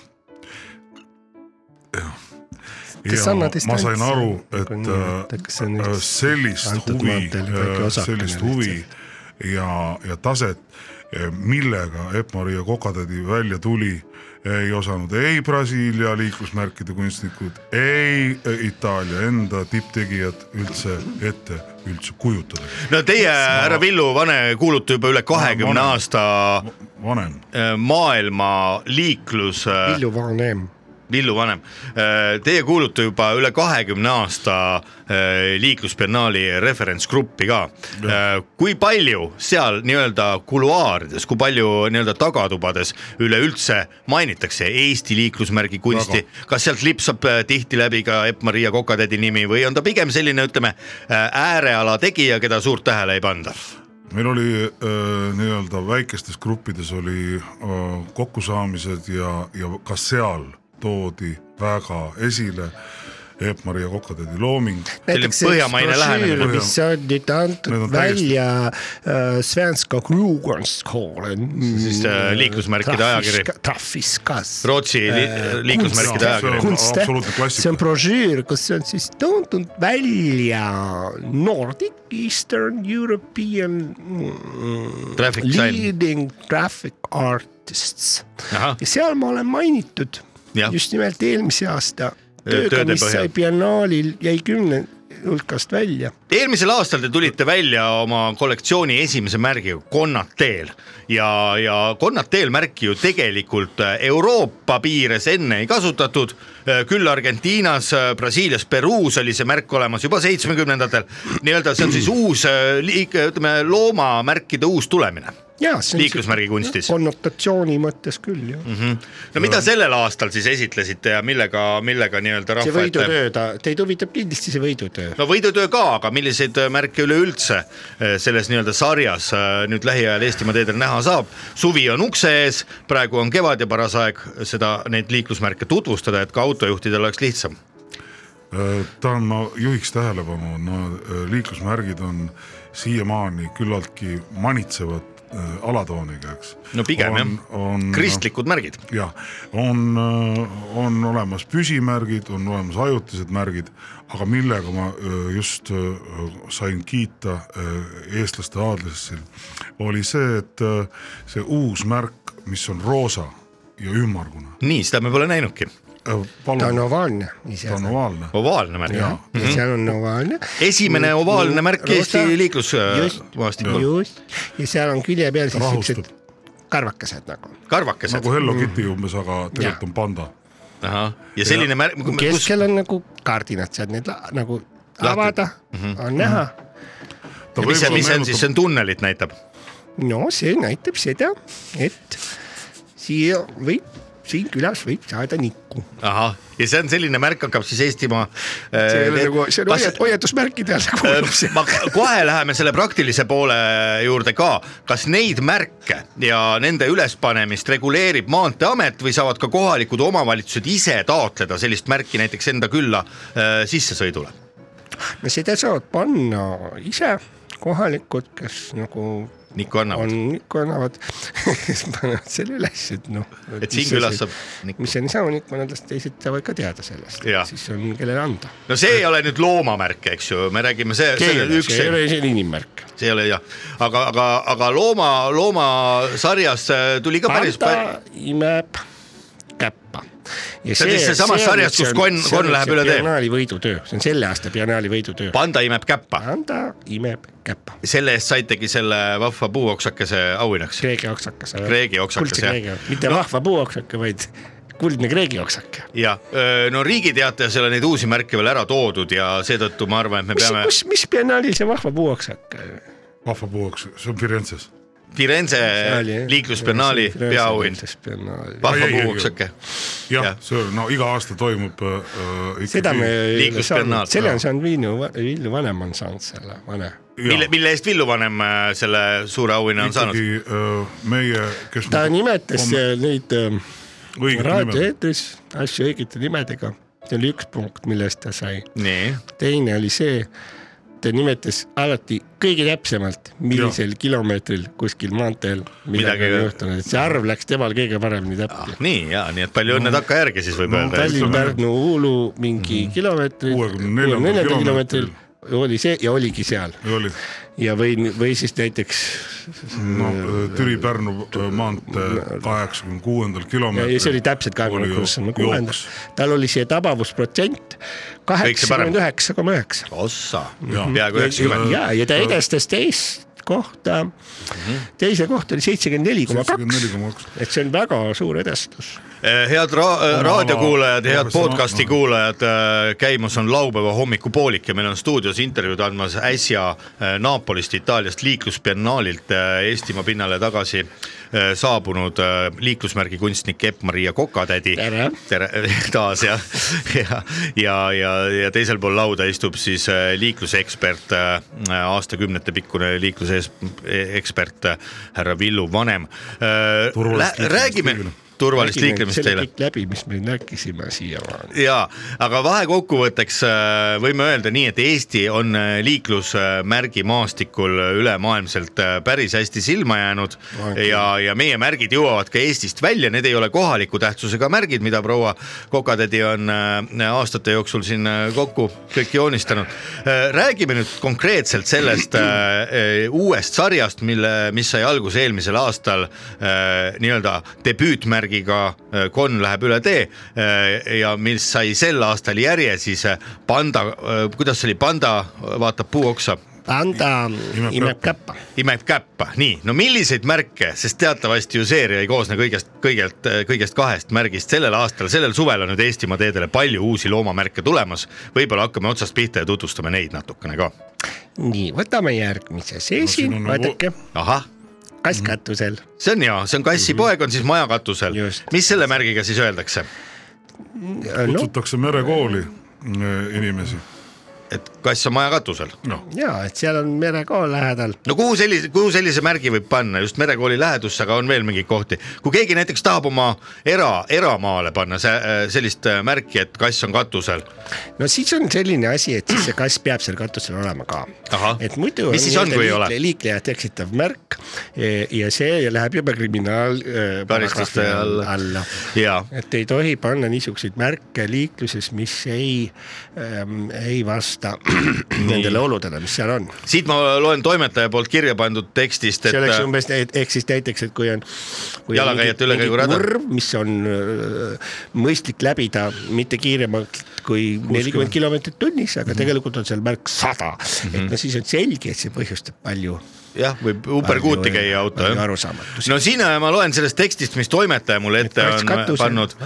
[SPEAKER 9] Kes
[SPEAKER 3] ja
[SPEAKER 9] annab
[SPEAKER 3] ma
[SPEAKER 9] distantsi?
[SPEAKER 3] sain aru , et
[SPEAKER 9] Kui
[SPEAKER 3] äh,
[SPEAKER 9] nimetada, kas see on
[SPEAKER 3] äh,
[SPEAKER 9] üks
[SPEAKER 3] sellist
[SPEAKER 9] antud
[SPEAKER 3] huvi äh,
[SPEAKER 9] maanteel väike , osakene
[SPEAKER 3] sellist
[SPEAKER 9] lihtsalt?
[SPEAKER 3] huvi ja , ja taset , millega Epp-Maria Kokatädi välja tuli , ei osanud ei Brasiilia liiklusmärkide kunstnikud , ei eh, Itaalia enda tipptegijad üldse ette üldse kujutada .
[SPEAKER 1] no teie , härra Villu Vane , kuulute juba üle kahekümne
[SPEAKER 3] vanem.
[SPEAKER 1] aasta
[SPEAKER 3] vanem
[SPEAKER 1] Äh, maailma liiklus ,
[SPEAKER 9] Villu Vanem ,
[SPEAKER 1] Villu Vanem , teie kuulute juba üle kahekümne aasta eh, liiklusbiennaali referentsgruppi ka . kui palju seal nii-öelda kuluaarides , kui palju nii-öelda tagatubades üleüldse mainitakse Eesti liiklusmärgi kunsti , kas sealt lipsab eh, tihti läbi ka Epp-Maria Kokatädi nimi või on ta pigem selline , ütleme eh, ääreala tegija , keda suurt tähele ei panda ?
[SPEAKER 3] meil oli äh, nii-öelda väikestes gruppides oli äh, kokkusaamised ja , ja ka seal toodi väga esile Epp-Maria Kokatädi looming .
[SPEAKER 9] näiteks see üks brošüür , mis on nüüd
[SPEAKER 3] Need
[SPEAKER 9] antud
[SPEAKER 3] on täiesti-
[SPEAKER 9] välja äh, Svenska Krugenskoolen .
[SPEAKER 1] siis, äh, liiklusmärkide ajakiri.
[SPEAKER 9] Trafiskas .
[SPEAKER 1] Rootsi li
[SPEAKER 9] Äh,
[SPEAKER 1] liiklusmärkide ajakiri .
[SPEAKER 9] see on brošüür , kus on siis toodud välja Nordic Eastern European mm,
[SPEAKER 1] Traffic sign.
[SPEAKER 9] leading traffic artists .
[SPEAKER 1] Ahah.
[SPEAKER 9] ja seal ma olen mainitud
[SPEAKER 1] Jah.
[SPEAKER 9] just nimelt eelmise aasta
[SPEAKER 1] Tööde
[SPEAKER 9] tööga , mis
[SPEAKER 1] põhjal.
[SPEAKER 9] sai biennaalil , jäi kümne , hulkast välja .
[SPEAKER 1] eelmisel aastal te tulite välja oma kollektsiooni esimese märgiga Konnad teel ja , ja Konnad teel märki ju tegelikult äh, Euroopa piires enne ei kasutatud . küll Argentiinas , Brasiilias , Peruus oli see märk olemas juba seitsmekümnendatel . nii-öelda see on siis uus äh, liik- , ütleme loomamärkide uus tulemine
[SPEAKER 9] Jaa, see on
[SPEAKER 1] liiklusmärgi kunstis .
[SPEAKER 9] konnotatsiooni mõttes küll ju .
[SPEAKER 1] Mm -hmm. no mida sellel aastal siis esitlesite ja millega , millega nii-öelda
[SPEAKER 9] see
[SPEAKER 1] rahva ette
[SPEAKER 9] võidutöö , ta , teid huvitab kindlasti see võidutöö .
[SPEAKER 1] no võidutöö ka , aga milliseid äh, märke üleüldse äh, selles nii-öelda sarjas äh, nüüd lähiajal Eestimaa teedel näha saab ? suvi on ukse ees , praegu on kevad ja paras aeg seda , neid liiklusmärke tutvustada , et ka autojuhtidel oleks lihtsam .
[SPEAKER 3] Äh, tahan , ma juhiks tähelepanu , no öö, liiklusmärgid on siiamaani küllaltki manitsevad öö, alatooniga , eks .
[SPEAKER 1] no pigem
[SPEAKER 3] on,
[SPEAKER 1] jah
[SPEAKER 9] Mhm.
[SPEAKER 3] on ,
[SPEAKER 1] kristlikud märgid .
[SPEAKER 3] jah , on , on olemas püsimärgid , on olemas ajutised märgid , aga millega ma öö, just öö, sain kiita öö, eestlaste aadlesse , oli see , et öö, see uus märk , mis on roosa ja ümmargune .
[SPEAKER 1] nii , seda me pole näinudki .
[SPEAKER 3] palun .
[SPEAKER 9] ta on ovaalne .
[SPEAKER 3] ta on ovaalne .
[SPEAKER 1] ovaalne märk Mhm.
[SPEAKER 9] jah , ja seal on ovaalne .
[SPEAKER 1] Esimene ovaalne märk Eesti liiklusmaastikul.
[SPEAKER 9] just , ja seal on külje peal siis
[SPEAKER 3] Rahustab.
[SPEAKER 9] siuksed karvakesed nagu .
[SPEAKER 1] karvakesed .
[SPEAKER 3] nagu Hello Kitty umbes , aga tegelikult on panda .
[SPEAKER 1] ahah , ja selline märk ,
[SPEAKER 9] keskel on nagu kaardinad , saad need la- nagu avada , on näha .
[SPEAKER 1] ja mis see , mis see on siis , see on tunnelit näitab .
[SPEAKER 9] no see näitab seda , et siia võib , siin külas võib saada nikku .
[SPEAKER 1] ahah , ja see on selline märk hakkab siis Eestimaa . äh,
[SPEAKER 9] see ei ole nagu , see on hoiat- , hoiatusmärkide all nagu kuulub see .
[SPEAKER 1] ma kohe läheme selle praktilise poole juurde ka , kas neid märke ja nende ülespanemist reguleerib Maanteeamet või saavad ka kohalikud omavalitsused ise taotleda sellist märki näiteks enda külla äh, sissesõidule ?
[SPEAKER 9] no seda saavad panna ise kohalikud , kes nagu
[SPEAKER 1] Niku annavad .
[SPEAKER 9] on , Niku annavad , *laughs* siis panevad selle üles , et noh .
[SPEAKER 1] Et siin külas saab Niku.
[SPEAKER 9] mis on isamaa Niku , nad las- teised saavad ka teada sellest ,
[SPEAKER 1] Jah.
[SPEAKER 9] siis on , kellele anda .
[SPEAKER 1] no see ei ole nüüd loomamärk , eks ju , me räägime see , see on üks .
[SPEAKER 9] see ei ole isegi inimmärk .
[SPEAKER 1] see ei ole jah , aga , aga , aga looma , loomasarjas äh, tuli ka päris palju .
[SPEAKER 9] panda imeb käppa .
[SPEAKER 1] See on siis seesamas sarjas, kus konn- konn läheb üle tee.
[SPEAKER 9] Biennaali võidutöö , see on selle aasta Biennaali võidutöö .
[SPEAKER 1] panda imeb käppa .
[SPEAKER 9] panda imeb käppa .
[SPEAKER 1] selle eest saitegi selle vahva puuoksakese auhinnaks .
[SPEAKER 9] Kreegi oksakas .
[SPEAKER 1] Kreegi oksakas
[SPEAKER 9] kuldse
[SPEAKER 1] jah .
[SPEAKER 9] kreegi , mitte vahva puuoksake , vaid kuldne kreegi oksake .
[SPEAKER 1] jah , no Riigi Teatajas ei ole neid uusi märke veel ära toodud ja seetõttu ma arvan , et me
[SPEAKER 9] mis ,
[SPEAKER 1] peame
[SPEAKER 9] kus , mis Biennaalil see vahva äh, puuoksake oli ?
[SPEAKER 3] vahva puuoks , see on Firenzes .
[SPEAKER 1] Firenze liiklusbiennaali peaauhind , vahva
[SPEAKER 3] Ai, ai, ai,
[SPEAKER 1] puuoksake .
[SPEAKER 3] jah , see on , no iga aasta toimub äh, äh, ikkagi
[SPEAKER 9] seda me ei ole saanud , selle on saanud Villu , Villu vanem on saanud selle , vana .
[SPEAKER 1] mille , mille eest Villu Vanem äh, selle suure auhinna on saanud ?
[SPEAKER 3] ikkagi äh, meie , kes nagu
[SPEAKER 9] ta nimetas
[SPEAKER 3] homme-
[SPEAKER 9] äh, neid ähm,
[SPEAKER 3] Õigete
[SPEAKER 9] raadioeetris asju õigete nimedega , see oli üks punkt , millest ta sai .
[SPEAKER 1] nii .
[SPEAKER 9] teine oli see , ta nimetas alati kõige täpsemalt , millisel ja. kilomeetril kuskil maanteel midagi
[SPEAKER 1] Midagi- Ah,
[SPEAKER 9] on juhtunud , et see arv läks temal kõige paremini täppi .
[SPEAKER 1] nii ja , nii et palju
[SPEAKER 9] Mm.
[SPEAKER 1] õnne takkajärgi siis võib öelda .
[SPEAKER 9] Tallinn-Pärnu Uulu mingi mm. kilomeetri ,
[SPEAKER 3] kuuekümne neljandal
[SPEAKER 9] kilomeetril oli see ja oligi seal
[SPEAKER 3] oli
[SPEAKER 9] ja või , või siis näiteks
[SPEAKER 3] no, äh, Türi-Pärnu äh, maantee kaheksakümne kuuendal
[SPEAKER 9] ja
[SPEAKER 3] kilomeetril .
[SPEAKER 9] ja see nagu oli täpselt kahekümne kuuekümne kuuenda , tal oli see tabavusprotsent
[SPEAKER 1] parem.
[SPEAKER 9] kaheksakümmend üheksa koma üheksa .
[SPEAKER 1] ossa ,
[SPEAKER 3] Jaa.
[SPEAKER 1] peaaegu üheksakümmend .
[SPEAKER 9] ja , ja ta edestas teist kohta , teise kohta oli seitsekümmend neli koma kaks , et see on väga suur edestus .
[SPEAKER 1] Eh, head ra- , raadiokuulajad , head podcast'i kuulajad , käimas on laupäeva hommikupoolik ja meil on stuudios intervjuud andmas äsja äh, Napolist , Itaaliast liiklusbiennaalilt äh, Eestimaa pinnale tagasi äh, saabunud äh, liiklusmärgi kunstnik Epp-Maria Kokatädi .
[SPEAKER 9] Tere.
[SPEAKER 1] tere *laughs* taas jah , ja , ja , ja , ja teisel pool lauda istub siis äh, liiklusekspert , aastakümnete pikkune liiklusekspert eh, härra Villu Vanem . räägime turvalist liiklemist teile .
[SPEAKER 9] kõik läbi , mis me näkisime siiamaani .
[SPEAKER 1] ja , aga vahekokkuvõtteks äh, võime öelda nii , et Eesti on äh, liiklusmärgi maastikul ülemaailmselt äh, päris hästi silma jäänud ja , ja meie märgid jõuavad ka Eestist välja , need ei ole kohaliku tähtsusega märgid , mida proua Kokatädi on äh, aastate jooksul siin äh, kokku kõik joonistanud . räägime nüüd konkreetselt sellest äh, äh, uuest sarjast , mille , mis sai alguse eelmisel aastal äh, nii-öelda debüütmärgi eesmärgiga äh, konn läheb üle tee äh, ja mis sai sel aastal järje siis äh, panda , kuidas see oli , panda vaatab puu oksa
[SPEAKER 9] panda imeb käppa .
[SPEAKER 1] imeb käppa , nii , no milliseid märke , sest teatavasti ju seeria ei koosne kõigest , kõigelt , kõigest kahest märgist , sellel aastal , sellel suvel on nüüd Eestimaa teedele palju uusi loomamärke tulemas , võib-olla hakkame otsast pihta ja tutvustame neid natukene ka .
[SPEAKER 9] nii , võtame järgmise , see no, siin , nagu- Mhm. vaadake ,
[SPEAKER 1] ahah ,
[SPEAKER 9] kass katusel .
[SPEAKER 1] see on hea , see on kassipoeg , on siis maja katusel , mis selle märgiga siis öeldakse ,
[SPEAKER 9] Äh,
[SPEAKER 3] kutsutakse merekooli äh, inimesi . Noh,
[SPEAKER 1] et kass on maja katusel
[SPEAKER 3] no. ?
[SPEAKER 9] ja , et seal on merekool lähedal .
[SPEAKER 1] no kuhu sellise , kuhu sellise märgi võib panna , just merekooli lähedusse , aga on veel mingeid kohti . kui keegi näiteks tahab oma era , eramaale panna see, sellist äh, märki , et kass on katusel .
[SPEAKER 9] no siis on selline asi , et siis see kass peab seal katusel olema ka . et muidu
[SPEAKER 1] mis siis on , kui ei ole ?
[SPEAKER 9] nii-öelda liikle- liiklejat eksitav märk eh, ja see läheb juba kriminaal .
[SPEAKER 1] Karistuste alla.
[SPEAKER 9] alla. .
[SPEAKER 1] jaa ,
[SPEAKER 9] et ei tohi panna niisuguseid märke liikluses , mis ei ähm, , ei vasta *clears throat* nendele oludele , mis seal on .
[SPEAKER 1] siit ma loen toimetaja poolt kirja pandud tekstist , et
[SPEAKER 9] see oleks umbes , ehk siis näiteks , et kui on .
[SPEAKER 1] Jalakäijate ülekäigurada. .
[SPEAKER 9] mis on äh, mõistlik läbida mitte kiiremalt kui nelikümmend kilomeetrit tunnis , aga tegelikult on seal märk sada .
[SPEAKER 1] Mhm.
[SPEAKER 9] et no siis on selge , et see põhjustab palju .
[SPEAKER 1] jah , võib uperkuuti käia auto jah . no siin äh, ma loen sellest tekstist , mis toimetaja mulle ette
[SPEAKER 9] Et kats
[SPEAKER 1] on
[SPEAKER 9] katusel.
[SPEAKER 1] pannud ,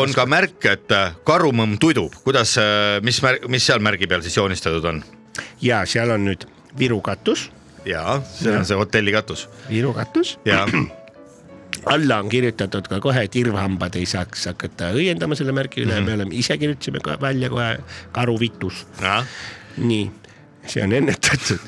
[SPEAKER 1] on ka märk , et äh, karumõmm tudub , kuidas , mis , mis seal märgi peal siis joonistatud on ?
[SPEAKER 9] ja seal on nüüd Viru katus ,
[SPEAKER 1] jaa , see on see hotelli katus .
[SPEAKER 9] Viru katus . *clears throat*
[SPEAKER 1] jaa ,
[SPEAKER 9] alla on kirjutatud ka kohe , et irvhambad ei saaks hakata õiendama selle märgi
[SPEAKER 1] Mhm.
[SPEAKER 9] üle mm , -hmm. me oleme ise kirjutasime kohe välja kohe karuvitus . nii , see on ennetatud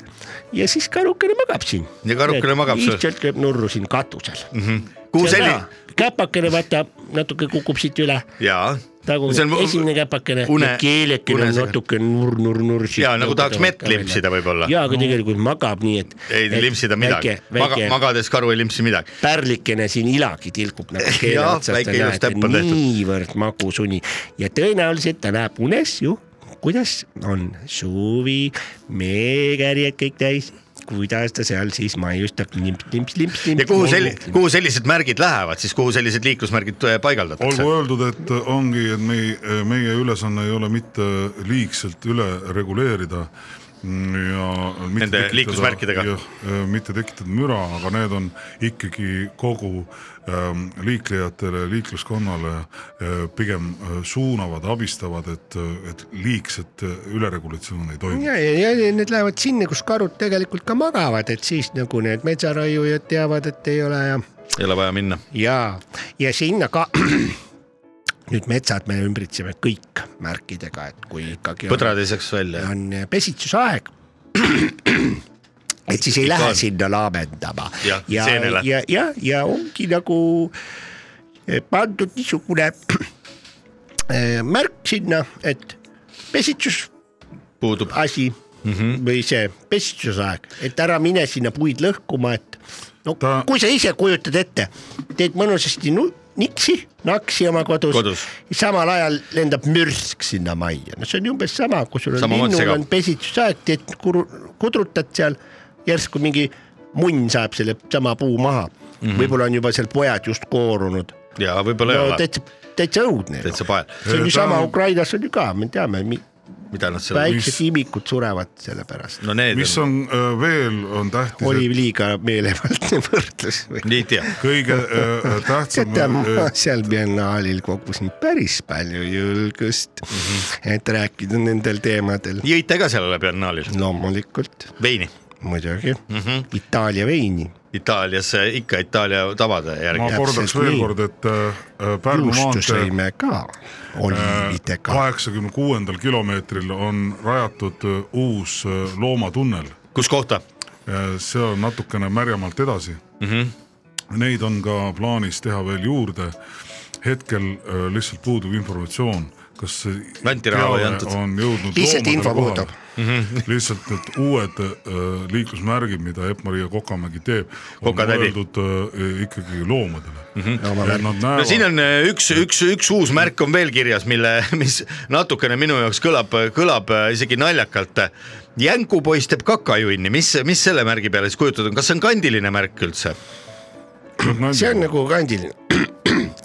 [SPEAKER 9] ja siis karukene magab siin .
[SPEAKER 1] Ja karukene magab seal.
[SPEAKER 9] seal . lihtsalt lööb nurru siin katusel mm .
[SPEAKER 1] Mhm. Kuhu selline- ?
[SPEAKER 9] käpakene vaata natuke kukub siit üle ,
[SPEAKER 1] jaa .
[SPEAKER 9] tagumine esimene käpakene
[SPEAKER 1] une-
[SPEAKER 9] une... , keelekene on
[SPEAKER 1] unesega.
[SPEAKER 9] natuke nurr-nurr-nurr .
[SPEAKER 1] Jaa, nagu tahaks mett limpsida võib-olla.
[SPEAKER 9] ja , aga tegelikult magab nii , et .
[SPEAKER 1] ei limpsida midagi , Maga, magades karu ei limpsi midagi .
[SPEAKER 9] pärlikene siin ilagi tilgub nagu keele
[SPEAKER 1] Jah,
[SPEAKER 9] otsast ,
[SPEAKER 1] väike
[SPEAKER 9] ta
[SPEAKER 1] ilus
[SPEAKER 9] näeb
[SPEAKER 1] täpp on tehtud.
[SPEAKER 9] niivõrd magus uni ja tõenäoliselt ta näeb unes ju , kuidas on suvi , meekärjed kõik täis , kuidas ta seal siis maiustab limps , limps , limps , limps .
[SPEAKER 1] ja kuhu sel- , kuhu sellised märgid lähevad siis , kuhu sellised liiklusmärgid äh, paigaldatakse
[SPEAKER 3] olgu ? öeldud , et ongi , et meie , meie ülesanne ei ole mitte liigselt üle reguleerida mm, ja mitte
[SPEAKER 1] Nende
[SPEAKER 3] tekitada-
[SPEAKER 1] liiklusmärkidega.
[SPEAKER 3] jah, eh, mitte tekitada müra , aga need on ikkagi kogu ähm, liiklejatele , liikluskonnale eh, pigem eh, suunavad , abistavad , et , et liigset eh, üleregulatsiooni ei toimu .
[SPEAKER 9] ja , ja , ja need lähevad sinna , kus karud tegelikult ka magavad , et siis nagu need metsaraiujad teavad , et ei ole ja
[SPEAKER 1] ei ole vaja minna .
[SPEAKER 9] ja , ja sinna ka *clears throat* nüüd metsad me ümbritseme kõik märkidega , et kui ikkagi on-
[SPEAKER 1] põdrad ei saaks välja .
[SPEAKER 9] on pesitsusaeg . et siis ei
[SPEAKER 1] Ikka
[SPEAKER 9] lähe
[SPEAKER 1] on.
[SPEAKER 9] sinna laamendama
[SPEAKER 1] Jah,
[SPEAKER 9] ja ,
[SPEAKER 1] seenele.
[SPEAKER 9] ja , ja , ja ongi nagu eh, pandud niisugune *clears throat* eh, märk sinna , et pesitsus
[SPEAKER 1] puudub
[SPEAKER 9] asi mm -hmm. või see pesitsusaeg , et ära mine sinna puid lõhkuma , et no Ta... kui sa ise kujutad ette , teed mõnusasti nu- niksi , naksi oma kodus,
[SPEAKER 1] Kodus. ,
[SPEAKER 9] samal ajal lendab mürsk sinna majja , no see on umbes sama , kui sul on
[SPEAKER 1] Samamoodi
[SPEAKER 9] linnul
[SPEAKER 1] segab.
[SPEAKER 9] on pesitsusaeg , teed kuru- , kudrutad seal järsku mingi munn saab selle sama puu maha mm -hmm. , võib-olla on juba seal pojad just koorunud ,
[SPEAKER 1] ja võib-olla ei
[SPEAKER 9] no
[SPEAKER 1] ole ,
[SPEAKER 9] täitsa , täitsa õudne ,
[SPEAKER 1] täitsa pael .
[SPEAKER 9] see
[SPEAKER 3] Äh,
[SPEAKER 9] on ju sama , Ukrainas on ju ka , me teame ,
[SPEAKER 1] mida nad seal ,
[SPEAKER 9] väiksed imikud surevad selle pärast .
[SPEAKER 1] no need
[SPEAKER 3] mis
[SPEAKER 1] on ,
[SPEAKER 3] on äh, veel , on tähtis .
[SPEAKER 9] oli liiga meelevaldne võrdlus või ?
[SPEAKER 1] ei tea .
[SPEAKER 3] kõige äh,
[SPEAKER 9] *laughs*
[SPEAKER 3] tähtsam
[SPEAKER 9] teate , ma
[SPEAKER 3] äh,
[SPEAKER 9] seal biennaalil kogusin päris palju julgust ,
[SPEAKER 1] Mhm.
[SPEAKER 9] et rääkida nendel teemadel .
[SPEAKER 1] jõite ka seal biennaalil
[SPEAKER 9] loomulikult ,
[SPEAKER 1] veini
[SPEAKER 9] muidugi ,
[SPEAKER 1] mm ? -hmm.
[SPEAKER 9] Itaalia veini ,
[SPEAKER 1] Itaalias äh, ikka Itaalia tavade
[SPEAKER 3] ma
[SPEAKER 1] järgi .
[SPEAKER 3] kordaks
[SPEAKER 9] täpselt
[SPEAKER 3] veel
[SPEAKER 9] nii.
[SPEAKER 3] kord , et äh, Pärnu
[SPEAKER 9] juustu
[SPEAKER 3] maantee
[SPEAKER 9] sõime ka ,
[SPEAKER 1] Äh.
[SPEAKER 9] oliividega .
[SPEAKER 3] kaheksakümne kuuendal kilomeetril on rajatud äh, uus äh, loomatunnel ,
[SPEAKER 1] kus kohta
[SPEAKER 3] see on natukene märjamalt edasi .
[SPEAKER 1] mm ? -hmm.
[SPEAKER 3] Neid on ka plaanis teha veel juurde . hetkel äh, lihtsalt puudub informatsioon , kas see
[SPEAKER 1] Anti raha ei
[SPEAKER 3] teave
[SPEAKER 1] antud. Mhm.
[SPEAKER 3] on jõudnud
[SPEAKER 9] Lihtsalt
[SPEAKER 3] loomadele
[SPEAKER 9] info
[SPEAKER 3] kohale.
[SPEAKER 9] puudub.
[SPEAKER 3] lihtsalt need uued äh, liiklusmärgid , mida Epp-Maria Kokamägi teeb , on
[SPEAKER 1] Kokatädi.
[SPEAKER 3] mõeldud äh, ikkagi loomadele mm . -hmm. Nad
[SPEAKER 1] Mhm. no siin
[SPEAKER 3] näevad ,
[SPEAKER 1] on äh, üks , üks , üks uus märk on veel kirjas , mille , *laughs* mis natukene minu jaoks kõlab , kõlab äh, isegi naljakalt . jänkupoiss teeb kakajunni , mis , mis selle märgi peale siis kujutatud on , kas see on kandiline märk üldse ?
[SPEAKER 9] see on nagu kandiline ,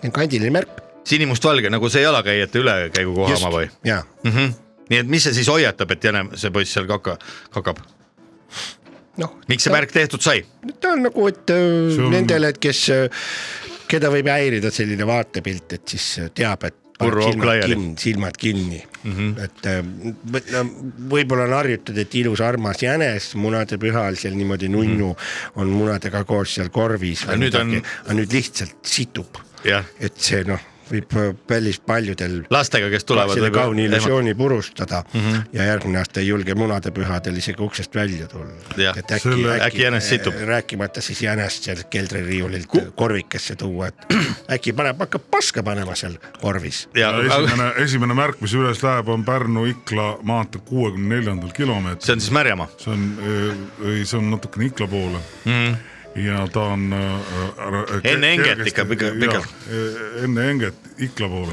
[SPEAKER 9] *clears throat* kandiline märk .
[SPEAKER 1] sinimustvalge nagu see jalakäijate ülekäigukoha oma või ?
[SPEAKER 9] jaa .
[SPEAKER 1] nii et mis see siis hoiatab , et jäne see poiss seal kaka , kakab ?
[SPEAKER 9] Noh,
[SPEAKER 1] miks see märk tehtud sai ?
[SPEAKER 9] ta on nagu , et öö,
[SPEAKER 1] See on-
[SPEAKER 9] nendele , kes , keda võib häirida selline vaatepilt , et siis öö, teab , et paneb
[SPEAKER 1] Kurru auk
[SPEAKER 9] silmad
[SPEAKER 1] laiali.
[SPEAKER 9] kinni , silmad kinni mm ,
[SPEAKER 1] Mhm.
[SPEAKER 9] -hmm. et öö, võ- no võib-olla on harjutud , et ilus armas jänes munade pühal seal niimoodi nunnu mm
[SPEAKER 1] Mhm.
[SPEAKER 9] -hmm. on munadega koos seal korvis .
[SPEAKER 1] Aga nüüd on-
[SPEAKER 9] aga nüüd lihtsalt situb ,
[SPEAKER 1] jah ,
[SPEAKER 9] et see noh , võib öö, päris paljudel
[SPEAKER 1] lastega , kes tulevad . nagu
[SPEAKER 9] selle kauni illusiooni purustada mm
[SPEAKER 1] Mhm.
[SPEAKER 9] -hmm. ja järgmine aasta ei julge munadepühadel isegi uksest välja tulla .
[SPEAKER 1] jah ,
[SPEAKER 9] et äkki ,
[SPEAKER 1] äkki, äkki jänes situb .
[SPEAKER 9] rääkimata siis jänest seal keldririiulilt korvikesse tuua , et *clears throat* äkki paneb , hakkab paska panema seal korvis .
[SPEAKER 3] esimene , esimene märk , mis üles läheb , on Pärnu-Ikla maantee kuuekümne neljandal kilomeetril .
[SPEAKER 1] see on siis Märjamaa ?
[SPEAKER 3] see on , ei , see on natukene Ikla poole
[SPEAKER 1] mm. .
[SPEAKER 3] ja ta on äh, .
[SPEAKER 1] Enne Enget ikka pika- pikalt. .
[SPEAKER 3] eh, enne Enget Ikla poole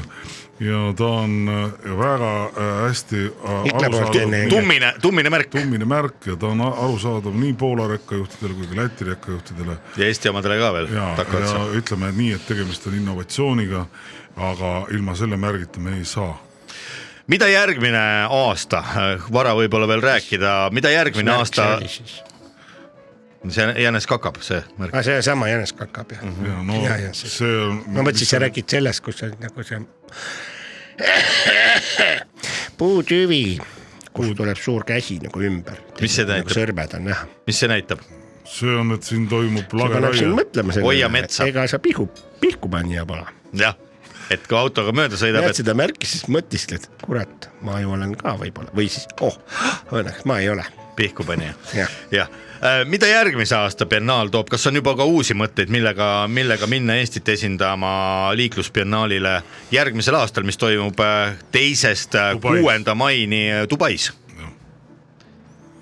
[SPEAKER 3] ja ta on äh, väga äh, hästi .
[SPEAKER 1] Ikla poolt enne Enget. Tummine- , tummine märk .
[SPEAKER 3] tummine märk ja ta on a- arusaadav nii Poola rekkajuhtidele kui ka Läti rekkajuhtidele
[SPEAKER 1] ja Eesti omadele ka veel
[SPEAKER 3] ja , ja
[SPEAKER 1] takkotsa .
[SPEAKER 3] ütleme et nii , et tegemist on innovatsiooniga , aga ilma selle märgita me ei saa .
[SPEAKER 1] mida järgmine aasta , vara võib-olla veel rääkida , mida järgmine
[SPEAKER 9] Mis märk see
[SPEAKER 1] aasta
[SPEAKER 9] oli ?
[SPEAKER 1] see jänes kakab , see märk .
[SPEAKER 9] aga Ah, seesama jänes kakab jah mm .
[SPEAKER 3] ja no
[SPEAKER 9] ja, ja, see...
[SPEAKER 3] see on .
[SPEAKER 9] ma mõtlesin , sa räägid sellest , kus on nagu see *clears throat* puutüvi , kus tuleb suur käsi nagu ümber .
[SPEAKER 1] mis see
[SPEAKER 9] nagu
[SPEAKER 1] näitab ,
[SPEAKER 9] sõrmed on näha .
[SPEAKER 1] mis see näitab ?
[SPEAKER 3] see on , et siin toimub
[SPEAKER 9] see paneb sind mõtlema
[SPEAKER 1] hoia
[SPEAKER 9] selle ,
[SPEAKER 1] metsa ,
[SPEAKER 9] ega sa pihu , pihku panija pole .
[SPEAKER 1] jah , et kui autoga mööda sõidab ,
[SPEAKER 9] näed
[SPEAKER 1] et
[SPEAKER 9] seda märki , siis mõtisled , kurat , ma ju olen ka võib-olla või siis oh , õnneks ma ei ole .
[SPEAKER 1] pihku pani ,
[SPEAKER 9] jah ,
[SPEAKER 1] jah . mida järgmise aasta biennaal toob , kas on juba ka uusi mõtteid , millega , millega minna Eestit esindama liiklusbiennaalile järgmisel aastal , mis toimub äh, teisest äh,
[SPEAKER 3] Dubais.
[SPEAKER 1] kuuenda maini äh, Dubais ?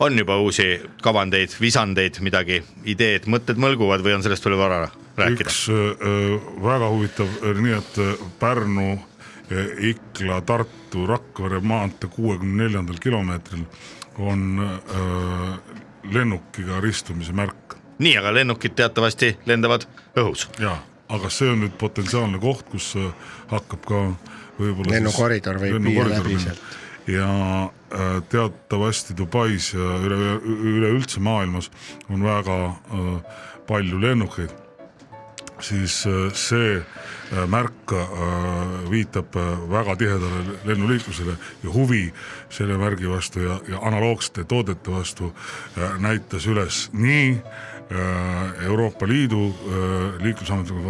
[SPEAKER 1] on juba uusi kavandeid , visandeid , midagi , ideed , mõtted mõlguvad või on sellest veel vara rääkida ?
[SPEAKER 3] üks öö, väga huvitav , nii et öö, Pärnu , Ikla , Tartu , Rakvere maantee kuuekümne neljandal kilomeetril on öö, lennukiga ristumise märk
[SPEAKER 1] nii , aga lennukid teatavasti lendavad õhus .
[SPEAKER 3] ja , aga see on nüüd potentsiaalne koht , kus öö, hakkab ka võib-olla .
[SPEAKER 9] Lennukoridor võib viia läbi sealt. .
[SPEAKER 3] ja öö, teatavasti Dubais ja üle , üleüldse maailmas on väga öö, palju lennukeid siis äh, see äh, märk äh, viitab äh, väga tihedale lennuliiklusele ja huvi selle märgi vastu ja , ja analoogsete toodete vastu äh, näitas üles nii äh, Euroopa Liidu äh, liiklusametiga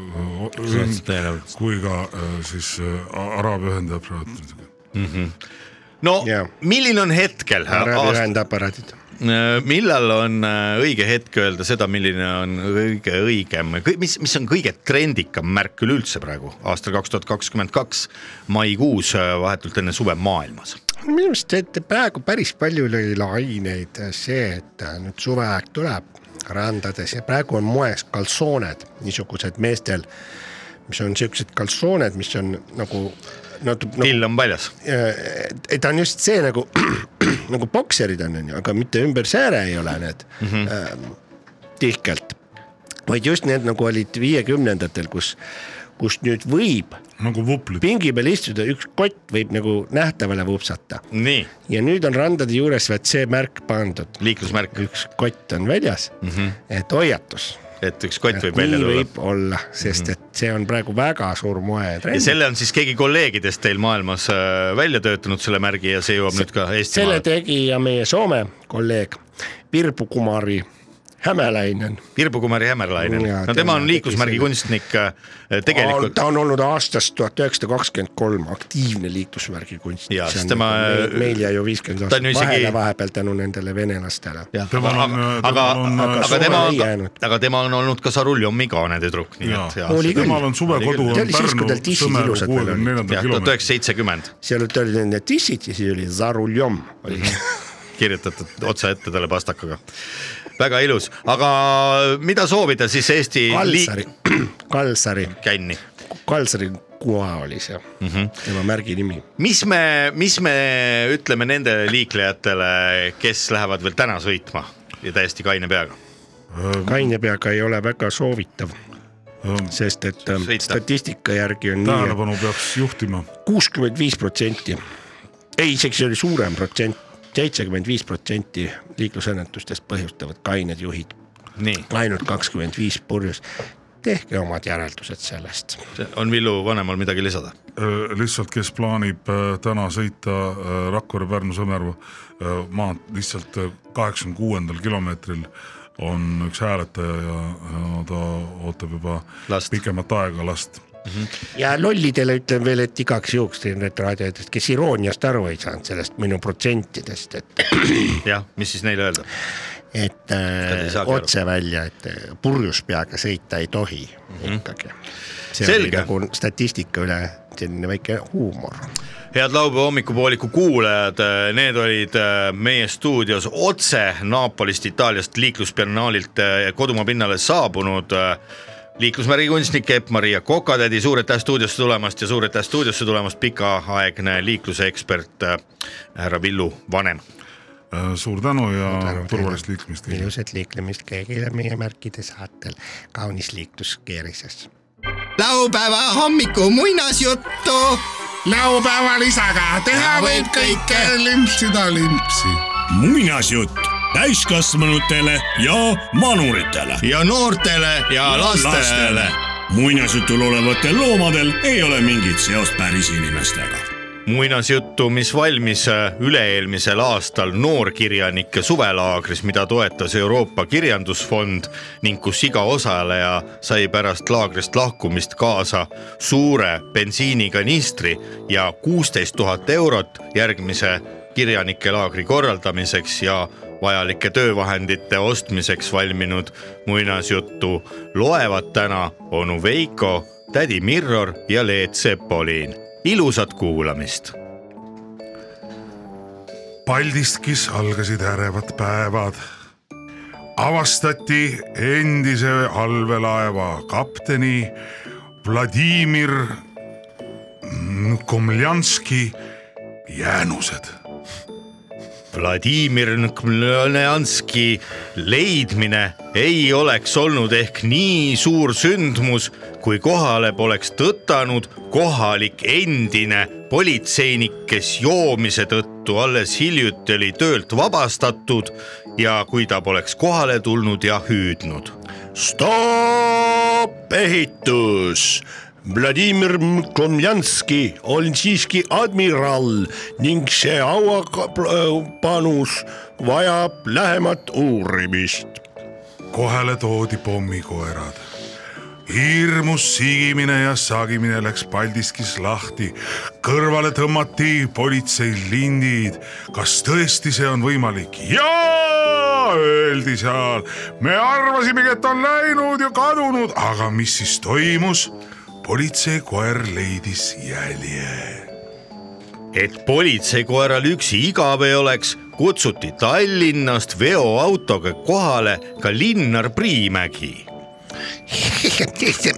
[SPEAKER 1] Sõltsus
[SPEAKER 3] kaaskonnaga
[SPEAKER 1] tõenäoliselt.
[SPEAKER 3] kui ka äh, siis äh, Araabia Ühendemiraatidega .
[SPEAKER 1] no milline on hetkel äh,
[SPEAKER 9] Araabia
[SPEAKER 1] aasta ,
[SPEAKER 9] ühendaparaadid .
[SPEAKER 1] millal on äh, õige hetk öelda seda , milline on kõige õigem , mis , mis on kõige trendikam märk üleüldse praegu aastal kaks tuhat kakskümmend kaks maikuus äh, vahetult enne suve maailmas ?
[SPEAKER 9] minu meelest teete praegu päris palju lõi laineid see , et äh, nüüd suveaeg tuleb randades ja praegu on moes kaltsooned , niisugused meestel , mis on siuksed kaltsooned , mis on nagu natu- nagu
[SPEAKER 1] till on väljas ,
[SPEAKER 9] ei , ta on just see nagu nagu bokserid on , onju , aga mitte ümber sääre ei ole need mm -hmm. äh, tihkelt , vaid just need nagu olid viiekümnendatel , kus , kus nüüd võib
[SPEAKER 3] nagu vuplid ,
[SPEAKER 9] pingi peal istuda , üks kott võib nagu nähtavale vupsata
[SPEAKER 1] nii ,
[SPEAKER 9] ja nüüd on randade juures vaid see märk pandud ,
[SPEAKER 1] liiklusmärk ,
[SPEAKER 9] üks kott on väljas mm , -hmm. et hoiatus
[SPEAKER 1] et üks kott võib välja
[SPEAKER 9] nii
[SPEAKER 1] tulla Mhm.
[SPEAKER 9] võib olla , sest et see on praegu väga suur
[SPEAKER 1] ja
[SPEAKER 9] moetrend .
[SPEAKER 1] selle on siis keegi kolleegidest teil maailmas äh, välja töötanud , selle märgi ja see jõuab nüüd ka
[SPEAKER 9] selle
[SPEAKER 1] Eestimaale .
[SPEAKER 9] tegi ja meie Soome kolleeg Virbu Kumari Hämelainen .
[SPEAKER 1] Virbu Kumari Hämmerlainen
[SPEAKER 9] Ja ,
[SPEAKER 1] no tema
[SPEAKER 9] tema
[SPEAKER 1] on
[SPEAKER 9] tegi
[SPEAKER 1] liiklusmärgi
[SPEAKER 9] selle.
[SPEAKER 1] kunstnik äh, tegelikult .
[SPEAKER 9] ta on olnud aastast tuhat üheksasada kakskümmend kolm aktiivne liiklusmärgi kunstnik .
[SPEAKER 1] Jaa, sest tema-
[SPEAKER 9] nagu meil jäi ju viiskümmend
[SPEAKER 1] ta on ju
[SPEAKER 9] aastat
[SPEAKER 1] isegi-
[SPEAKER 9] vahele vahepeal tänu nendele venelastele .
[SPEAKER 3] temal on ,
[SPEAKER 9] äh,
[SPEAKER 1] aga ,
[SPEAKER 3] temal on ,
[SPEAKER 1] aga, aga
[SPEAKER 9] Soome
[SPEAKER 1] tema
[SPEAKER 9] ei
[SPEAKER 1] on
[SPEAKER 9] jäänud. ,
[SPEAKER 1] aga tema on olnud ka Saruljomi kaane tüdruk , nii et .
[SPEAKER 9] Oli küll.
[SPEAKER 3] temal on suvekodu
[SPEAKER 9] See
[SPEAKER 3] on
[SPEAKER 9] oli siis, kui tal
[SPEAKER 3] Pärnu
[SPEAKER 9] tissid
[SPEAKER 3] Sõmeru
[SPEAKER 9] ilusad veel olid.
[SPEAKER 3] kuuekümne neljandal
[SPEAKER 1] jah , tuhat
[SPEAKER 3] kilomeetril .
[SPEAKER 1] üheksasada seitsekümmend
[SPEAKER 9] seal olid- olid need tissid ja siis oli Zaruljom oli
[SPEAKER 1] Mhm. kirjutatud otse ette talle pastakaga . väga ilus , aga mida soovida siis Eesti
[SPEAKER 9] Kalsari , *clears throat* Kalsari ,
[SPEAKER 1] känni ?
[SPEAKER 9] Kalsari Kua oli see mm ,
[SPEAKER 1] Mhm.
[SPEAKER 9] -hmm. tema märgi nimi .
[SPEAKER 1] mis me , mis me ütleme nendele liiklejatele , kes lähevad veel täna sõitma ja täiesti kaine peaga ?
[SPEAKER 9] kaine peaga ei ole väga soovitav .
[SPEAKER 1] Mhm.
[SPEAKER 9] sest et äh,
[SPEAKER 3] Sõita.
[SPEAKER 9] statistika järgi on
[SPEAKER 3] tähelepanu peaks juhtima .
[SPEAKER 9] kuuskümmend viis protsenti , ei isegi see oli suurem protsent , seitsekümmend viis protsenti liiklusõnnetustest põhjustavad kained juhid . ainult kakskümmend viis purjus , tehke omad järeldused sellest .
[SPEAKER 1] on Villu vanemal midagi lisada ?
[SPEAKER 3] Äh, lihtsalt , kes plaanib äh, täna sõita äh, Rakvere-Pärnu-Sõmerva äh, maad lihtsalt äh, kaheksakümne kuuendal kilomeetril on üks hääletaja ja, ja ta ootab juba last. pikemat aega last mm . -hmm.
[SPEAKER 9] ja lollidele ütlen veel , et igaks juhuks teen need raadioeetrist , kes irooniast aru ei saanud sellest minu protsentidest , et ,
[SPEAKER 1] jah , mis siis neile öelda ?
[SPEAKER 9] et äh,
[SPEAKER 1] ei saagi aru.
[SPEAKER 9] otse välja , et äh, purjus peaga sõita ei tohi mm -hmm. ikkagi . see
[SPEAKER 1] Mhm. Selge.
[SPEAKER 9] oli nagu statistika üle selline väike huumor .
[SPEAKER 1] head laupäeva hommikupooliku kuulajad , need olid äh, meie stuudios otse Napolist , Itaaliast liiklusbiennaalilt äh, kodumaa pinnale saabunud äh, liiklusmärgi kunstnik Epp-Maria Kokatädi , suur aitäh stuudiosse tulemast ja suur aitäh stuudiosse tulemast pikaaegne liikluse ekspert äh, härra Villu Vanem .
[SPEAKER 3] Äh, suur tänu ja turvalist liikumist teile .
[SPEAKER 9] ilusat liiklemist kõigile meie märkide saatel , kaunis liiklus keerises .
[SPEAKER 12] laupäeva hommiku muinasjuttu . laupäeva lisaga
[SPEAKER 13] teha võib kõike
[SPEAKER 12] limpsida limpsi .
[SPEAKER 13] muinasjutt täiskasvanutele ja manuritele .
[SPEAKER 1] ja noortele ja lastele.
[SPEAKER 13] muinasjutul olevatel loomadel ei ole mingit seost päris inimestega .
[SPEAKER 1] muinasjuttu , mis valmis äh, üle-eelmisel aastal noorkirjanike suvelaagris , mida toetas Euroopa Kirjandusfond ning kus iga osaleja sai pärast laagrist lahkumist kaasa suure bensiinikanistri ja kuusteist tuhat eurot järgmise kirjanike laagri korraldamiseks ja vajalike töövahendite ostmiseks valminud muinasjuttu loevad täna onu Veiko , tädi Mirror ja Leet Sepolin . ilusat kuulamist .
[SPEAKER 3] Paldiskis algasid ärevad päevad . avastati endise allveelaeva kapteni Vladimir Komljanski jäänused .
[SPEAKER 1] Vladimir Nõkmljanski leidmine ei oleks olnud ehk nii suur sündmus , kui kohale poleks tõtanud kohalik endine politseinik , kes joomise tõttu alles hiljuti oli töölt vabastatud ja kui ta poleks kohale tulnud ja hüüdnud .
[SPEAKER 14] stopp , ehitus . Vladimir Komjanski on siiski admiral ning see
[SPEAKER 9] äh,
[SPEAKER 14] auapanus vajab lähemat uurimist .
[SPEAKER 3] kohale toodi pommikoerad . hirmus sigimine ja sagimine läks Paldiskis lahti . kõrvale tõmmati politsei lindid . kas tõesti see on võimalik ? jaa , öeldi seal . me arvasimegi , et on läinud ja kadunud , aga mis siis toimus ? politseikoer leidis jälje
[SPEAKER 1] et politseikoeral üksi igav ei oleks , kutsuti Tallinnast veoautoga kohale ka Linnar Priimägi
[SPEAKER 9] täitsa ,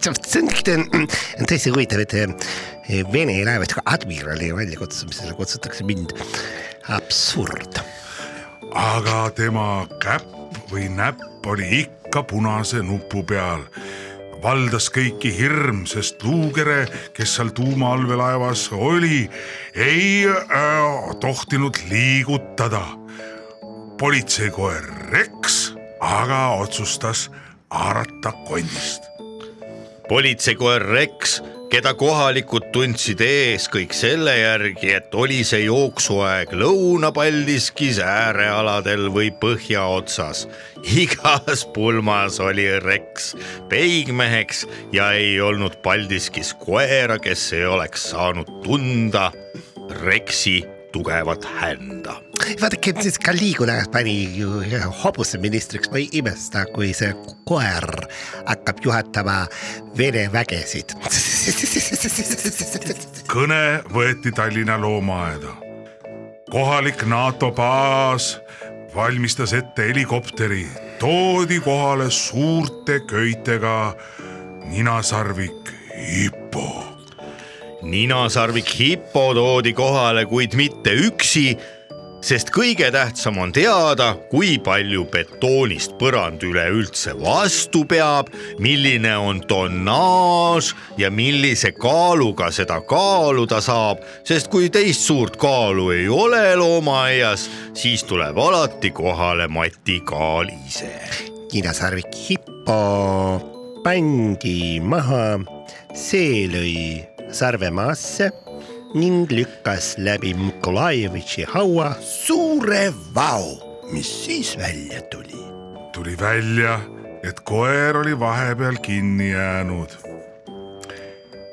[SPEAKER 9] täitsa huvitav , et eh, Vene laevastiku admirali väljakutsumisele kutsutakse mind . absurd .
[SPEAKER 3] aga tema käpp või näpp oli ikka punase nupu peal . valdas kõiki hirm , sest Luugere , kes seal tuumaallveelaevas oli , ei äh, tohtinud liigutada . politseikoer Rex aga otsustas haarata konnist .
[SPEAKER 1] politseikoer Rex , keda kohalikud tundsid eeskõik selle järgi , et oli see jooksuaeg Lõuna-Paldiskis äärealadel või põhjaotsas . igas pulmas oli Rex peigmeheks ja ei olnud Paldiskis koera , kes ei oleks saanud tunda Rexi tugevat hända .
[SPEAKER 9] vaadake , siis ka Liigula pani ju hobuseministriks , ma ei imesta , kui see koer hakkab juhatama Vene vägesid .
[SPEAKER 3] kõne võeti Tallinna loomaaeda . kohalik NATO baas valmistas ette helikopteri , toodi kohale suurte köitega ninasarvik hipo .
[SPEAKER 1] ninasarvik hipo toodi kohale , kuid mitte üksi , sest kõige tähtsam on teada , kui palju betoonist põrand üleüldse vastu peab , milline on tonnaaž ja millise kaaluga seda kaaluda saab , sest kui teist suurt kaalu ei ole loomaaias , siis tuleb alati kohale Mati Kaal ise .
[SPEAKER 9] kirjasarvik Hippo pandi maha , see lõi sarve maasse ning lükkas läbi Mikolajevitši haua suure vao , mis siis välja tuli .
[SPEAKER 3] tuli välja , et koer oli vahepeal kinni jäänud .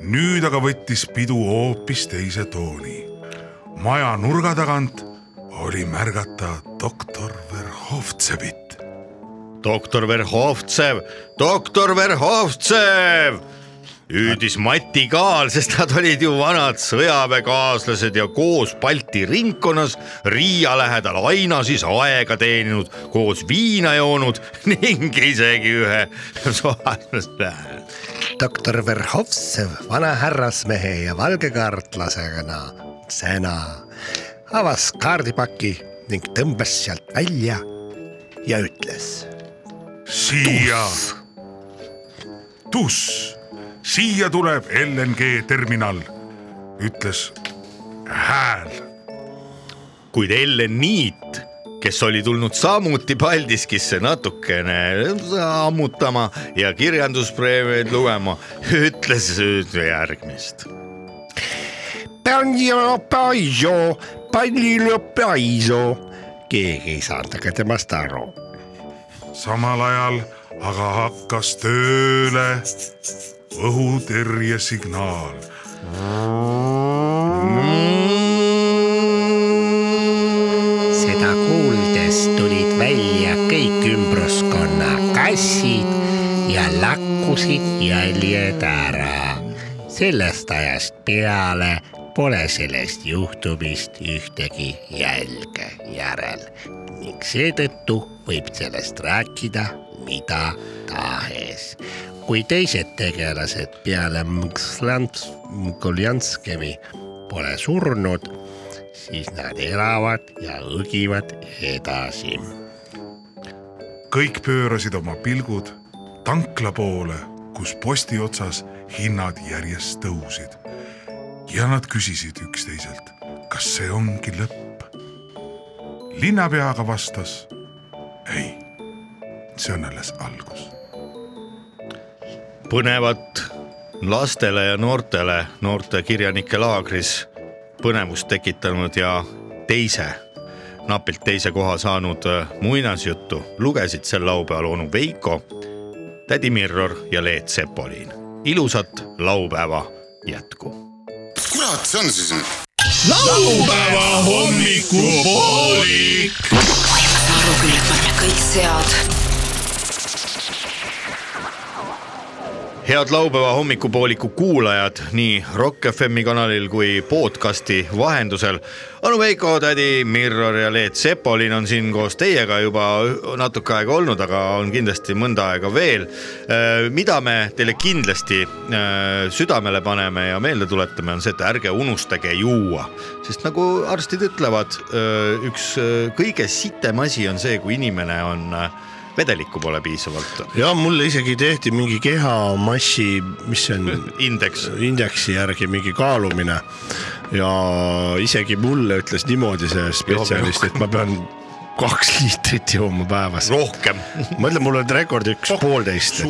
[SPEAKER 3] nüüd aga võttis pidu hoopis teise tooni . maja nurga tagant oli märgata doktor Verhovtsevit .
[SPEAKER 1] doktor Verhovtsev , doktor Verhovtsev , hüüdis Mati Kaal , sest nad olid ju vanad sõjaväekaaslased ja koos Balti ringkonnas Riia lähedal aina siis aega teeninud , koos viina joonud *laughs* ning isegi ühe sohaslasele .
[SPEAKER 9] doktor Verhovtsev vana härrasmehe ja valgekaartlasena sõna avas kaardipaki ning tõmbas sealt välja ja ütles .
[SPEAKER 3] siia , tuss , siia tuleb LNG terminal , ütles hääl .
[SPEAKER 1] kuid Ellen Niit , kes oli tulnud samuti Paldiskisse natukene ammutama ja kirjanduspreemiaid lugema , ütles järgmist .
[SPEAKER 9] Panjo , Paiso , Pallilo , Paiso . keegi ei saanud aga temast aru .
[SPEAKER 3] samal ajal aga hakkas tööle õhutõrje signaal .
[SPEAKER 9] seda kuuldes tulid välja kõik ümbruskonna kassid ja lakkusid jäljed ära . sellest ajast peale pole sellest juhtumist ühtegi jälge järel ning seetõttu võib sellest rääkida mida tahes . kui teised tegelased peale Mkslants- Mkoljanskemi pole surnud siis nad elavad ja õgivad edasi .
[SPEAKER 3] kõik pöörasid oma pilgud tankla poole , kus posti otsas hinnad järjest tõusid . ja nad küsisid üksteiselt , kas see ongi lõpp . linnapea aga vastas . ei , see on alles algus .
[SPEAKER 1] põnevat lastele ja noortele noorte kirjanike laagris põnevust tekitanud ja teise , napilt teise koha saanud äh, muinasjuttu lugesid sel laupäeval onu Veiko , tädi Mirror ja Leet Sepolin . ilusat laupäeva jätku .
[SPEAKER 15] kurat , see on siis nüüd .
[SPEAKER 16] laupäeva hommikupoolik .
[SPEAKER 5] aru küll , et võtame kõik sead
[SPEAKER 1] head laupäeva hommikupooliku kuulajad nii Rock FM-i kanalil kui podcasti vahendusel . Anu Veiko , tädi Mirror ja Leet Sepolin on siin koos teiega juba natuke aega olnud , aga on kindlasti mõnda aega veel . mida me teile kindlasti äh, südamele paneme ja meelde tuletame , on see , et ärge unustage juua , sest nagu arstid ütlevad , üks äh, kõige sitem asi on see , kui inimene on äh, vedelikku pole piisavalt
[SPEAKER 2] ja mulle isegi tehti mingi kehamassi , mis see
[SPEAKER 9] *laughs*
[SPEAKER 2] on ?
[SPEAKER 1] indeks .
[SPEAKER 2] indeksi järgi mingi kaalumine ja isegi mulle ütles niimoodi see spetsialist , et ma pean kaks liitrit jooma päevas .
[SPEAKER 1] rohkem .
[SPEAKER 2] ma ütlen , mul on rekord üks
[SPEAKER 1] Oh,
[SPEAKER 2] poolteist .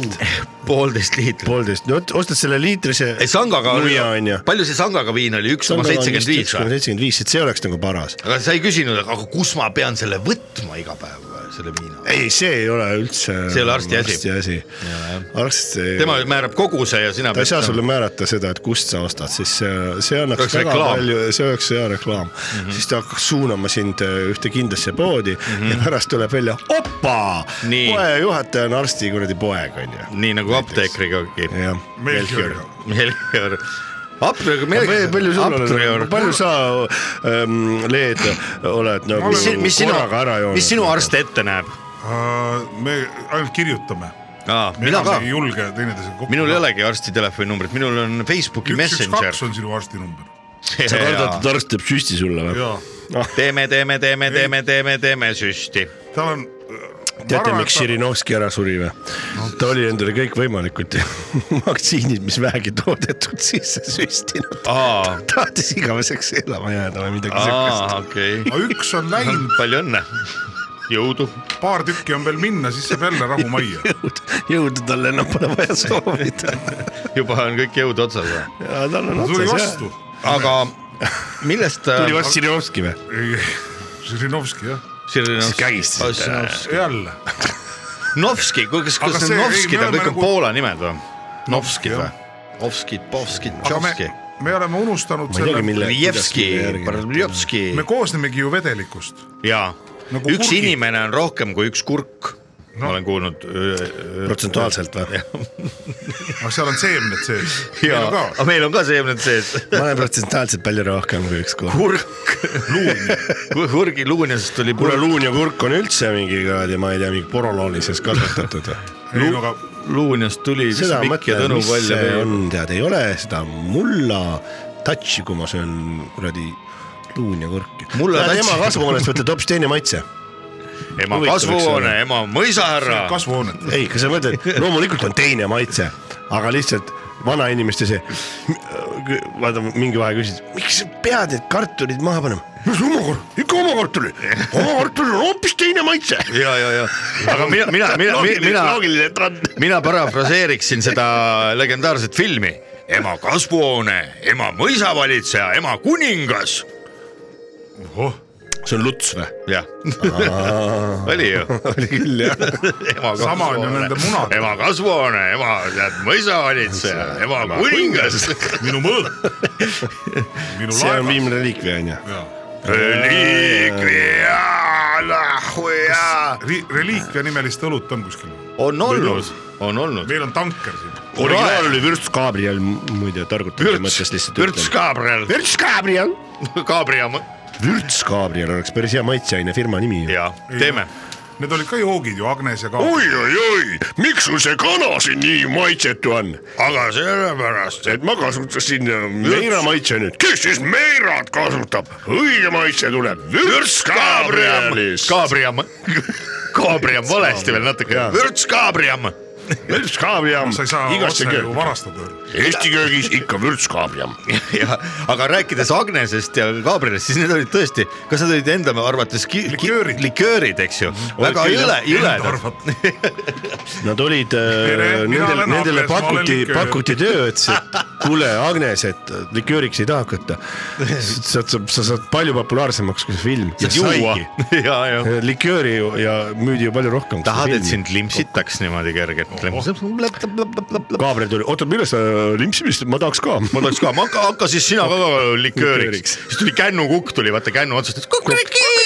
[SPEAKER 1] poolteist liitrit .
[SPEAKER 2] poolteist , no ostad selle liitrise .
[SPEAKER 1] ei sangaga oli
[SPEAKER 2] nuia on ju ,.
[SPEAKER 1] palju see sangaga viin oli , üks koma seitsekümmend viis
[SPEAKER 2] või ?
[SPEAKER 1] või ?
[SPEAKER 2] seitsekümmend viis , et see oleks nagu paras .
[SPEAKER 1] aga sa ei küsinud , aga kus ma pean selle võtma iga päev , selle viina ?
[SPEAKER 2] ei , see ei ole üldse .
[SPEAKER 1] See ei ole arsti asi.
[SPEAKER 2] arsti asi . arst .
[SPEAKER 1] tema määrab koguse ja sina
[SPEAKER 2] ta ei saa sulle määrata seda , et kust sa ostad , siis see , see annaks
[SPEAKER 1] oleks
[SPEAKER 2] väga
[SPEAKER 1] reklaam. Mhm.
[SPEAKER 2] reklaam. palju , see oleks hea reklaam mm , -hmm. siis ta hakkaks suunama sind äh, ühte kindlasse poodi mm -hmm. ja pärast tuleb välja , opa ,
[SPEAKER 1] Nii.
[SPEAKER 2] poe juhataja on arsti kuradi poeg onju .
[SPEAKER 1] nii nagu apteekrigagi .
[SPEAKER 2] Melchior. .
[SPEAKER 1] Melchior . apteek ,
[SPEAKER 2] palju sul on , palju
[SPEAKER 1] Apteeker .
[SPEAKER 2] sa ähm, , Leed , oled nagu
[SPEAKER 1] mis , mis sina
[SPEAKER 2] korraga ära , joonud ?
[SPEAKER 1] mis sinu arst ette näeb ?
[SPEAKER 3] me ainult kirjutame .
[SPEAKER 1] aa , mina ka .
[SPEAKER 3] ei julge teineteisega kokku .
[SPEAKER 1] minul ei olegi arsti telefoninumbrit , minul on Facebooki
[SPEAKER 3] üks , üks ,
[SPEAKER 1] Messenger
[SPEAKER 3] kaks . on sinu arsti number .
[SPEAKER 2] sa kardad , et arst teeb süsti sulle või ?
[SPEAKER 1] teeme , teeme , teeme , teeme , teeme , teeme süsti .
[SPEAKER 3] tal on . äh,
[SPEAKER 2] teate , miks Žirinovski ära suri või ? ta oli endale kõikvõimalikud *laughs* vaktsiinid , mis vähegi toodetud sisse süstinud .
[SPEAKER 1] ta
[SPEAKER 2] tahtis igaveseks elama jääda või midagi
[SPEAKER 1] aa ,
[SPEAKER 2] siukest .
[SPEAKER 1] okei .
[SPEAKER 3] üks on läinud .
[SPEAKER 1] palju õnne , jõudu .
[SPEAKER 3] paar tükki on veel minna , siis saab jälle rahumajja .
[SPEAKER 2] jõudu talle enam pole vaja soovida .
[SPEAKER 1] juba on kõik jõud otsas või ?
[SPEAKER 2] ja tal on
[SPEAKER 3] tuli
[SPEAKER 2] otsas
[SPEAKER 3] vastu .
[SPEAKER 1] aga millest ? äh,
[SPEAKER 2] tuli vastu Žirinovski või ?
[SPEAKER 3] Žirinovski jah .
[SPEAKER 2] kägistasite ära.
[SPEAKER 1] Žirinovski .
[SPEAKER 3] jälle .
[SPEAKER 1] Novski , kas ,
[SPEAKER 3] Aga
[SPEAKER 1] kas
[SPEAKER 3] see-
[SPEAKER 1] need
[SPEAKER 3] ei,
[SPEAKER 1] Novskid
[SPEAKER 3] me
[SPEAKER 1] on
[SPEAKER 3] oleme
[SPEAKER 1] kõik on
[SPEAKER 3] nagu-
[SPEAKER 1] Poola nimed või ? Novskid või ? Ovskid , Povskid ,
[SPEAKER 3] aga me
[SPEAKER 1] Tšovski ,,
[SPEAKER 3] me oleme unustanud
[SPEAKER 2] Ma ei teagi, mille-
[SPEAKER 3] selle ,
[SPEAKER 1] Vljevski
[SPEAKER 2] kuidas me , järgi-
[SPEAKER 1] Barljovski
[SPEAKER 3] me koosnemegi ju vedelikust .
[SPEAKER 1] ja
[SPEAKER 3] Nagu
[SPEAKER 1] üks
[SPEAKER 3] kurgid.
[SPEAKER 1] inimene on rohkem kui üks kurk . ma olen kuulnud . äh,
[SPEAKER 2] protsentuaalselt või ?
[SPEAKER 3] aga seal on seemned sees .
[SPEAKER 1] ja , aga meil on ka seemned sees .
[SPEAKER 2] ma olen protsentuaalselt palju rohkem kui üks kurk .
[SPEAKER 1] kurk , luun , kurgi luunjast tuli .
[SPEAKER 2] kuule , luun ja kurk on üldse mingi kuradi , ma ei tea , mingi poroloonises kasvatatud või ?
[SPEAKER 3] ei no aga
[SPEAKER 1] luunjast tuli
[SPEAKER 2] seda ma
[SPEAKER 1] Mikk ja
[SPEAKER 2] mõtlen ,
[SPEAKER 1] Tõnu
[SPEAKER 2] mis
[SPEAKER 1] välja
[SPEAKER 2] see
[SPEAKER 1] veel .
[SPEAKER 2] on , tead , ei ole seda mulla touch'i , kui ma söön kuradi luun ja kurki .
[SPEAKER 1] Mulla
[SPEAKER 2] Lähed
[SPEAKER 1] touch'i.
[SPEAKER 2] ema kasvuhoonest , võtad hoopis teine maitse .
[SPEAKER 1] ema
[SPEAKER 2] Huvitav, eks ole.
[SPEAKER 1] kasvuhoone , ema mõisahärra .
[SPEAKER 3] kasvuhooned .
[SPEAKER 2] ei , kas sa mõtled ,
[SPEAKER 1] *laughs*
[SPEAKER 2] loomulikult on teine maitse , aga lihtsalt vanainimeste see , vaata mingi vahe küsis , miks sa pead need kartulid maha panema ? no see oma kart- , ikka oma kartulid , oma kartulil on hoopis teine maitse .
[SPEAKER 1] ja , ja , ja , aga mina , mina , mina , mina ,
[SPEAKER 2] loogiline trend .
[SPEAKER 1] mina parafraseeriksin seda legendaarset filmi . ema kasvuhoone , ema mõisavalitseja , ema kuningas .
[SPEAKER 3] Oh,
[SPEAKER 2] see on luts või ?
[SPEAKER 1] jah , oli ju .
[SPEAKER 2] oli küll jah .
[SPEAKER 1] ema
[SPEAKER 3] Sama on ju
[SPEAKER 1] kasvuhoone
[SPEAKER 3] nende munadega. ,
[SPEAKER 1] ema kasvuhoone , ema tead mõisavalitseja , ema kuningas .
[SPEAKER 3] minu mõõt . minu
[SPEAKER 2] see on
[SPEAKER 3] laev .
[SPEAKER 2] viimne reliikvia onju .
[SPEAKER 3] reliikvia nimelist õlut on kuskil .
[SPEAKER 1] on olnud , on olnud .
[SPEAKER 3] meil on tanker siin .
[SPEAKER 2] originaal oli Vürts Gabriel muide targutamise mõttes
[SPEAKER 1] Vürts ,
[SPEAKER 2] lihtsalt .
[SPEAKER 1] Vürts Gabriel ,
[SPEAKER 2] Vürts Gabriel .
[SPEAKER 1] Gabriel ,
[SPEAKER 2] Vürts Gabriel oleks päris hea maitseaine firma nimi .
[SPEAKER 1] ja teeme .
[SPEAKER 3] Need olid ka joogid ju , Agnes ja ka .
[SPEAKER 2] oi-oi-oi , miks sul see kana siin nii maitsetu on ,
[SPEAKER 1] aga sellepärast ,
[SPEAKER 2] et ma kasutasin meira maitse nüüd . kes siis meirat kasutab , õige maitse tuleb Vürts Gabrielist .
[SPEAKER 1] Kaabriam , Kaabriam valesti veel natuke , Vürts Kaabriam .
[SPEAKER 2] Vürts Gabriel
[SPEAKER 3] sa ei saa
[SPEAKER 2] igasse
[SPEAKER 3] otse ju
[SPEAKER 2] kööki ,
[SPEAKER 3] varastada .
[SPEAKER 2] Eesti köögis ikka Vürts Gabriel .
[SPEAKER 1] aga rääkides Agnesest ja Kaabriast , siis need olid tõesti , kas nad olid enda arvates ki-
[SPEAKER 3] Liköörid.
[SPEAKER 1] ki- liköörid , Mhm. eks ju , väga jõle , jõledad .
[SPEAKER 2] Nad olid ,
[SPEAKER 3] Tere, mina
[SPEAKER 2] nendele ,
[SPEAKER 3] olen
[SPEAKER 2] nendele
[SPEAKER 3] Agnes, ma olen
[SPEAKER 2] pakuti ,
[SPEAKER 3] liiköör.
[SPEAKER 2] pakuti tööd , et kuule , Agnes , et likööriks ei taha hakata . sa saad , sa saad palju populaarsemaks kui see film . ja
[SPEAKER 1] juua
[SPEAKER 2] saigi .,
[SPEAKER 1] ja , ja
[SPEAKER 2] likööri ju ja müüdi ju palju rohkem .
[SPEAKER 1] tahad , et sind limpsitaks niimoodi kergelt ?
[SPEAKER 2] Gabriel tuli , oota , milles sa limpsimist , ma tahaks ka .
[SPEAKER 1] ma tahaks ka , ma hakka , hakka siis sina ka likööriks
[SPEAKER 2] Likööriks. ,
[SPEAKER 1] siis tuli kännukukk tuli , vaata kännu otsast , et kukuriki ,
[SPEAKER 2] oo ,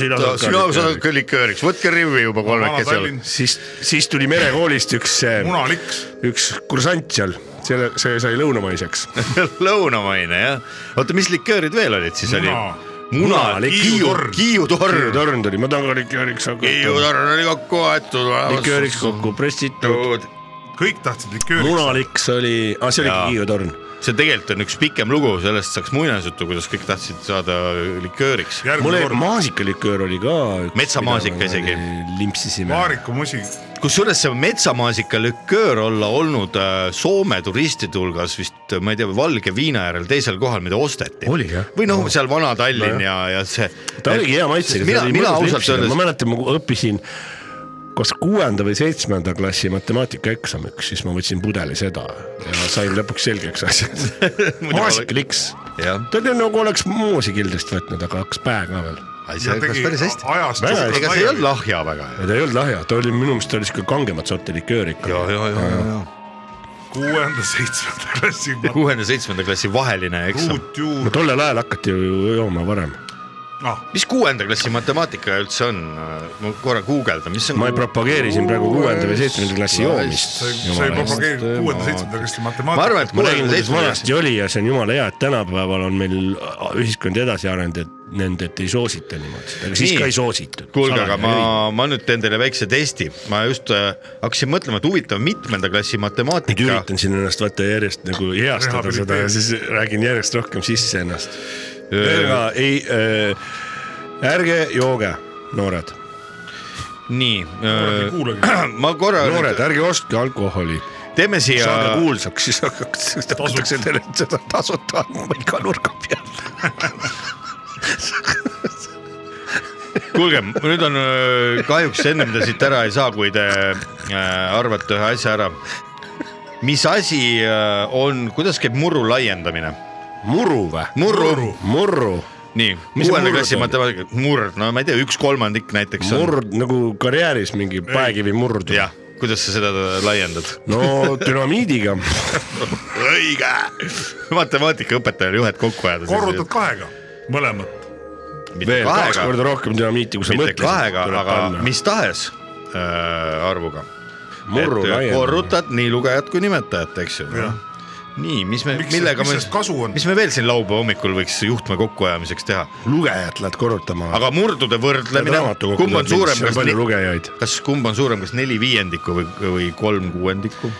[SPEAKER 2] sina saad ka
[SPEAKER 1] sina saad
[SPEAKER 2] likööri .
[SPEAKER 1] ka likööriks , võtke rivvi juba kolmekesi .
[SPEAKER 2] siis , siis tuli merekoolist üks ,
[SPEAKER 3] munaliks .
[SPEAKER 2] üks kursant seal , selle , see sai lõunamaiseks .
[SPEAKER 1] *laughs* lõunamaine jah , oota , mis liköörid veel olid siis oli
[SPEAKER 3] Muna. ?
[SPEAKER 1] muna
[SPEAKER 2] Muna, ,
[SPEAKER 1] Kiiu
[SPEAKER 3] likiutorn. ,
[SPEAKER 1] Kiiutorn ,
[SPEAKER 2] torn tuli , ma tahan ka likööriks hakata .
[SPEAKER 1] Kiiutorn oli kokku aetud .
[SPEAKER 2] likööriks kokku pressitud ,
[SPEAKER 1] kokku .
[SPEAKER 3] kõik tahtsid likööri .
[SPEAKER 2] munaliks oli , aa see
[SPEAKER 1] Jaa.
[SPEAKER 2] oligi Hiiu torn .
[SPEAKER 1] see tegelikult on üks pikem lugu , sellest saaks muinasjuttu , kuidas kõik tahtsid saada likööriks .
[SPEAKER 2] mul
[SPEAKER 3] järgmine
[SPEAKER 2] oli
[SPEAKER 3] kord
[SPEAKER 2] maasikaliköör oli ka .
[SPEAKER 1] Metsamaasika isegi. .
[SPEAKER 2] limpsisime .
[SPEAKER 3] Maariku musi
[SPEAKER 1] kusjuures see metsamaasika liköör olla olnud äh, Soome turistide hulgas vist , ma ei tea , valge viina järel teisel kohal , mida osteti .
[SPEAKER 2] Oli, jah?
[SPEAKER 1] või noh , seal Vana-Tallinn ja , ja see .
[SPEAKER 2] ta oligi hea maitsega .
[SPEAKER 1] mina , mina ausalt öeldes
[SPEAKER 2] ma , mäletan , ma õppisin kas kuuenda või seitsmenda klassi matemaatikaeksamiks , siis ma võtsin pudeli seda ja sain lõpuks selgeks *laughs* asjad
[SPEAKER 1] Muidu .
[SPEAKER 2] maasikaliks ,
[SPEAKER 1] jah ,
[SPEAKER 2] ta oli nagu oleks moosikildist võtnud , aga hakkas pähe ka veel .
[SPEAKER 1] see hakkas päris hästi .
[SPEAKER 3] ajast
[SPEAKER 2] Väga hästi.
[SPEAKER 1] ega see ei olnud lahja väga .
[SPEAKER 2] ja ta ei olnud lahja , ta oli minu meelest ta oli siuke kangemat sorti liköör ikka .
[SPEAKER 1] ja , ja , ja , ja , ja
[SPEAKER 3] kuuenda-seitsmenda klassi ma-
[SPEAKER 1] kuuenda , seitsmenda klassi vaheline eksam .
[SPEAKER 3] ruutjuur
[SPEAKER 2] no . tollel ajal hakati ju jooma varem ,
[SPEAKER 3] Ah,
[SPEAKER 1] mis kuuenda klassi matemaatika üldse on ? ma korra guugeldan , mis on .
[SPEAKER 2] ma ei propageeri siin praegu kuuenda või seitsmenda klassi joomist .
[SPEAKER 3] sa ei , sa ei propageeri kuuenda-seitsmenda klassi
[SPEAKER 1] ma arvan , et
[SPEAKER 3] matemaatikat .
[SPEAKER 2] ma räägin ,
[SPEAKER 1] kuuekümne
[SPEAKER 2] kuidas
[SPEAKER 1] seitsmenda
[SPEAKER 2] vanasti oli ja see on jumala hea , et tänapäeval on meil ühiskond edasi arenenud , et nende, et ei soosita niimoodi, aga siis
[SPEAKER 1] Nii.
[SPEAKER 2] ka ei soositud .
[SPEAKER 1] kuulge , aga ma , ma nüüd teen teile väikse testi , ma just äh, hakkasin mõtlema , et huvitav , mitmenda klassi matemaatika .
[SPEAKER 2] üritan siin ennast vaata järjest nagu heastada seda ja siis räägin järjest rohkem sisse ennast . aga ei äh, , ärge jooge , noored .
[SPEAKER 1] nii . ma korra .
[SPEAKER 2] noored , ärge ostke alkoholi .
[SPEAKER 1] teeme siia .
[SPEAKER 2] saage kuulsaks , siis hakatakse , siis hakatakse teile seda tasuta andma iga nurga peal .
[SPEAKER 1] kuulge , nüüd on öö, kahjuks enne mida siit ära ei saa , kui te äh, arvate ühe asja ära . mis asi äh, on , kuidas käib murru laiendamine ?
[SPEAKER 2] muru või ?
[SPEAKER 1] murru .
[SPEAKER 2] murru .
[SPEAKER 1] nii ,
[SPEAKER 2] Mis
[SPEAKER 1] kuuenda
[SPEAKER 2] murd
[SPEAKER 1] klassi
[SPEAKER 2] on?
[SPEAKER 1] matemaatika , murd , no ma ei tea , üks kolmandik näiteks on .
[SPEAKER 2] murd nagu karjääris mingi paekivi murd .
[SPEAKER 1] jah , kuidas sa seda laiendad ? *laughs*
[SPEAKER 2] no dünamiidiga .
[SPEAKER 1] õige . matemaatikaõpetajal juhet kokku ajada .
[SPEAKER 3] korrutad kahega , mõlemat .
[SPEAKER 2] veel kaks korda rohkem dünamiiti , kui sa
[SPEAKER 1] mitte
[SPEAKER 2] mõtlesid .
[SPEAKER 1] kahega , aga mis tahes äh, arvuga .
[SPEAKER 2] Murru laiendamine.
[SPEAKER 1] korrutad nii lugejat kui nimetajat , eks ju . nii , mis me ,
[SPEAKER 3] Miks-
[SPEAKER 1] millega
[SPEAKER 3] mis
[SPEAKER 1] me
[SPEAKER 3] sellest , kasu on?
[SPEAKER 1] mis me veel siin laupäeva hommikul võiks juhtme kokkuajamiseks teha ?
[SPEAKER 2] Ah. lugejat lähed korrutama .
[SPEAKER 1] aga murdude võrdlemine
[SPEAKER 2] Ja , raamatukogule
[SPEAKER 1] kumb on
[SPEAKER 2] kindlasti
[SPEAKER 1] suurem ,
[SPEAKER 2] on
[SPEAKER 1] kas
[SPEAKER 2] palju
[SPEAKER 1] ni-
[SPEAKER 2] lugejaid.
[SPEAKER 1] kas kumb on suurem , kas neli viiendikku või , või kolm kuuendikku ?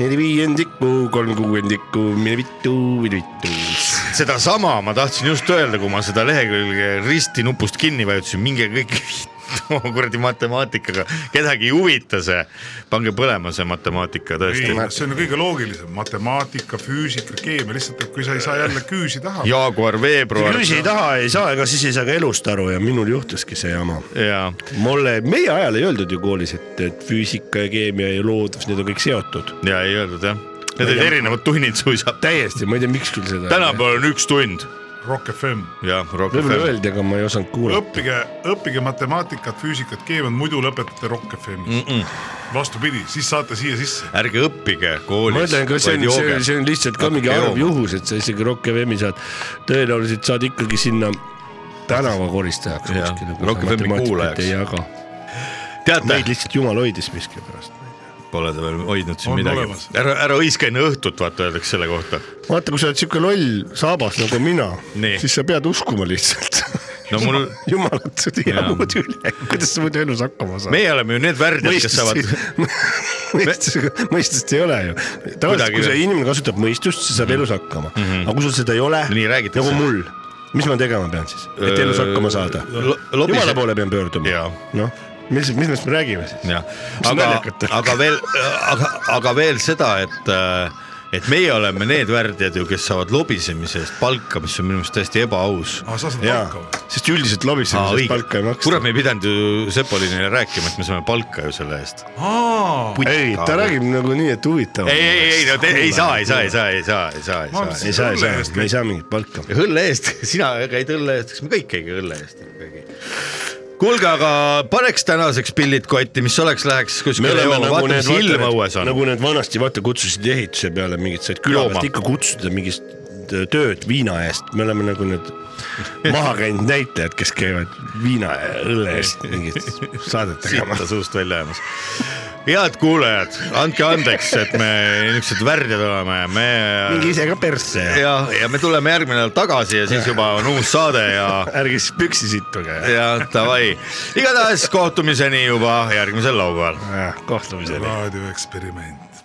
[SPEAKER 2] neli viiendikku , kolm kuuendikku , mine vittu , mine vittu .
[SPEAKER 1] sedasama ma tahtsin just öelda , kui ma seda lehekülge risti nupust kinni vajutasin , minge kõik *laughs* no, kuradi matemaatikaga , kedagi ei huvita see , pange põlema see matemaatika tõesti
[SPEAKER 3] ei , see on kõige loogilisem , matemaatika , füüsika , keemia , lihtsalt , et kui sa ei saa jälle küüsi taha .
[SPEAKER 1] Jaaguar , veebruar .
[SPEAKER 2] kui sa ei taha , ei saa , ega siis ei saa ka elust aru ja minul juhtuski see jama .
[SPEAKER 1] ja
[SPEAKER 2] mulle , meie ajal ei öeldud ju koolis , et , et füüsika ja keemia ja loodus , need on kõik seotud .
[SPEAKER 1] ja ei öeldud jah , need olid erinevad tunnid suisa .
[SPEAKER 2] täiesti , ma ei tea , miks küll seda .
[SPEAKER 1] tänapäeval on üks tund .
[SPEAKER 3] Rock FM .
[SPEAKER 1] jah , Rock
[SPEAKER 2] võib-olla
[SPEAKER 1] FM .
[SPEAKER 2] öeldi , aga ma ei osanud kuulata .
[SPEAKER 3] õppige , õppige matemaatikat , füüsikat , keemiat , muidu lõpetate Rock FM-is . vastupidi , siis saate siia sisse .
[SPEAKER 1] ärge õppige koolis .
[SPEAKER 2] ma ütlen , kas see on , see , see on lihtsalt ka mingi arv . juhus , et sa isegi Rock FM-i saad , tõenäoliselt saad ikkagi sinna tänavakoristajaks
[SPEAKER 1] Jah,
[SPEAKER 2] kuskile .
[SPEAKER 1] Rock FM-i kuulajaks.
[SPEAKER 2] ei jaga .
[SPEAKER 1] teate ,
[SPEAKER 2] meid lihtsalt jumal hoidis miskipärast .
[SPEAKER 1] pole te veel hoidnud siin
[SPEAKER 3] On
[SPEAKER 1] midagi
[SPEAKER 3] olemas. .
[SPEAKER 1] ära , ära hõiska enne õhtut , vaata öeldakse selle kohta .
[SPEAKER 2] vaata , kui sa oled siuke loll saabas nagu mina
[SPEAKER 1] Nii. ,
[SPEAKER 2] siis sa pead uskuma lihtsalt *laughs*
[SPEAKER 1] No mul-
[SPEAKER 2] jumalat , sa ei tea
[SPEAKER 1] Jaa.
[SPEAKER 2] muud üle , kuidas sa muidu elus hakkama saad .
[SPEAKER 1] meie oleme ju need värdjad , kes saavad .
[SPEAKER 2] *laughs* mõistust , mõistust ei ole ju . tavaliselt ,
[SPEAKER 1] Kuidagi
[SPEAKER 2] kui see
[SPEAKER 1] veel.
[SPEAKER 2] inimene kasutab mõistust , siis saab elus hakkama mm , -hmm. aga kui sul seda ei ole ,
[SPEAKER 1] Nii räägitakse.
[SPEAKER 2] nagu mul , mis ma tegema pean siis , et elus hakkama saada ?
[SPEAKER 1] lobise-
[SPEAKER 2] jumala poole pean pöörduma
[SPEAKER 1] Jaa. .
[SPEAKER 2] noh , mis , millest me räägime siis ?
[SPEAKER 1] jah ,
[SPEAKER 2] Mis
[SPEAKER 1] aga
[SPEAKER 2] naljakat on? ,
[SPEAKER 1] aga veel , aga , aga veel seda , et , et meie oleme need värdjad ju , kes saavad lobisemise eest palka , mis on minu meelest täiesti ebaaus .
[SPEAKER 3] aga sa saad
[SPEAKER 2] jaa
[SPEAKER 3] palka või ?,
[SPEAKER 2] sest üldiselt lobisemisest palka ei maksta .
[SPEAKER 1] kurat , me ei pidanud ju Sepolinile rääkima , et me saame palka ju selle eest .
[SPEAKER 3] aa ,
[SPEAKER 2] ei , ta räägib nagu nii , et huvitav .
[SPEAKER 1] ei , ei , ei , no te ei saa , ei saa , ei saa , ei saa , ei saa ,
[SPEAKER 3] Ma
[SPEAKER 1] ei saa .
[SPEAKER 2] ei saa , ei saa
[SPEAKER 3] õlle eest ,
[SPEAKER 2] me ei saa mingit palka .
[SPEAKER 1] õlle eest , *laughs* sina käid õlle eest , eks me kõik käime õlle eest ikkagi . kuulge , aga paneks tänaseks pillid kotti , mis oleks , läheks kuskile jooma , vaata mis ilm õues on .
[SPEAKER 2] nagu need vanasti vaata kutsusid ehituse peale mingit , said küla
[SPEAKER 1] Jooma.
[SPEAKER 2] pealt ikka kutsuda mingist äh, tööd viina eest , me oleme nagu need maha käinud näitlejad , kes käivad viina ja õlle eest mingit saadet
[SPEAKER 1] sitta
[SPEAKER 2] tegemas .
[SPEAKER 1] suust välja jäämas . head kuulajad , andke andeks , et me niisugused värdjad oleme , me
[SPEAKER 2] minge ise ka persse ja
[SPEAKER 1] ja , ja me tuleme järgmine nädal tagasi ja siis juba on uus saade ja ,
[SPEAKER 2] ärge siis püksi sittuge .
[SPEAKER 1] ja davai . igatahes kohtumiseni juba järgmisel laupäeval .
[SPEAKER 2] Ah, kohtumiseni .
[SPEAKER 3] raadioeksperiment .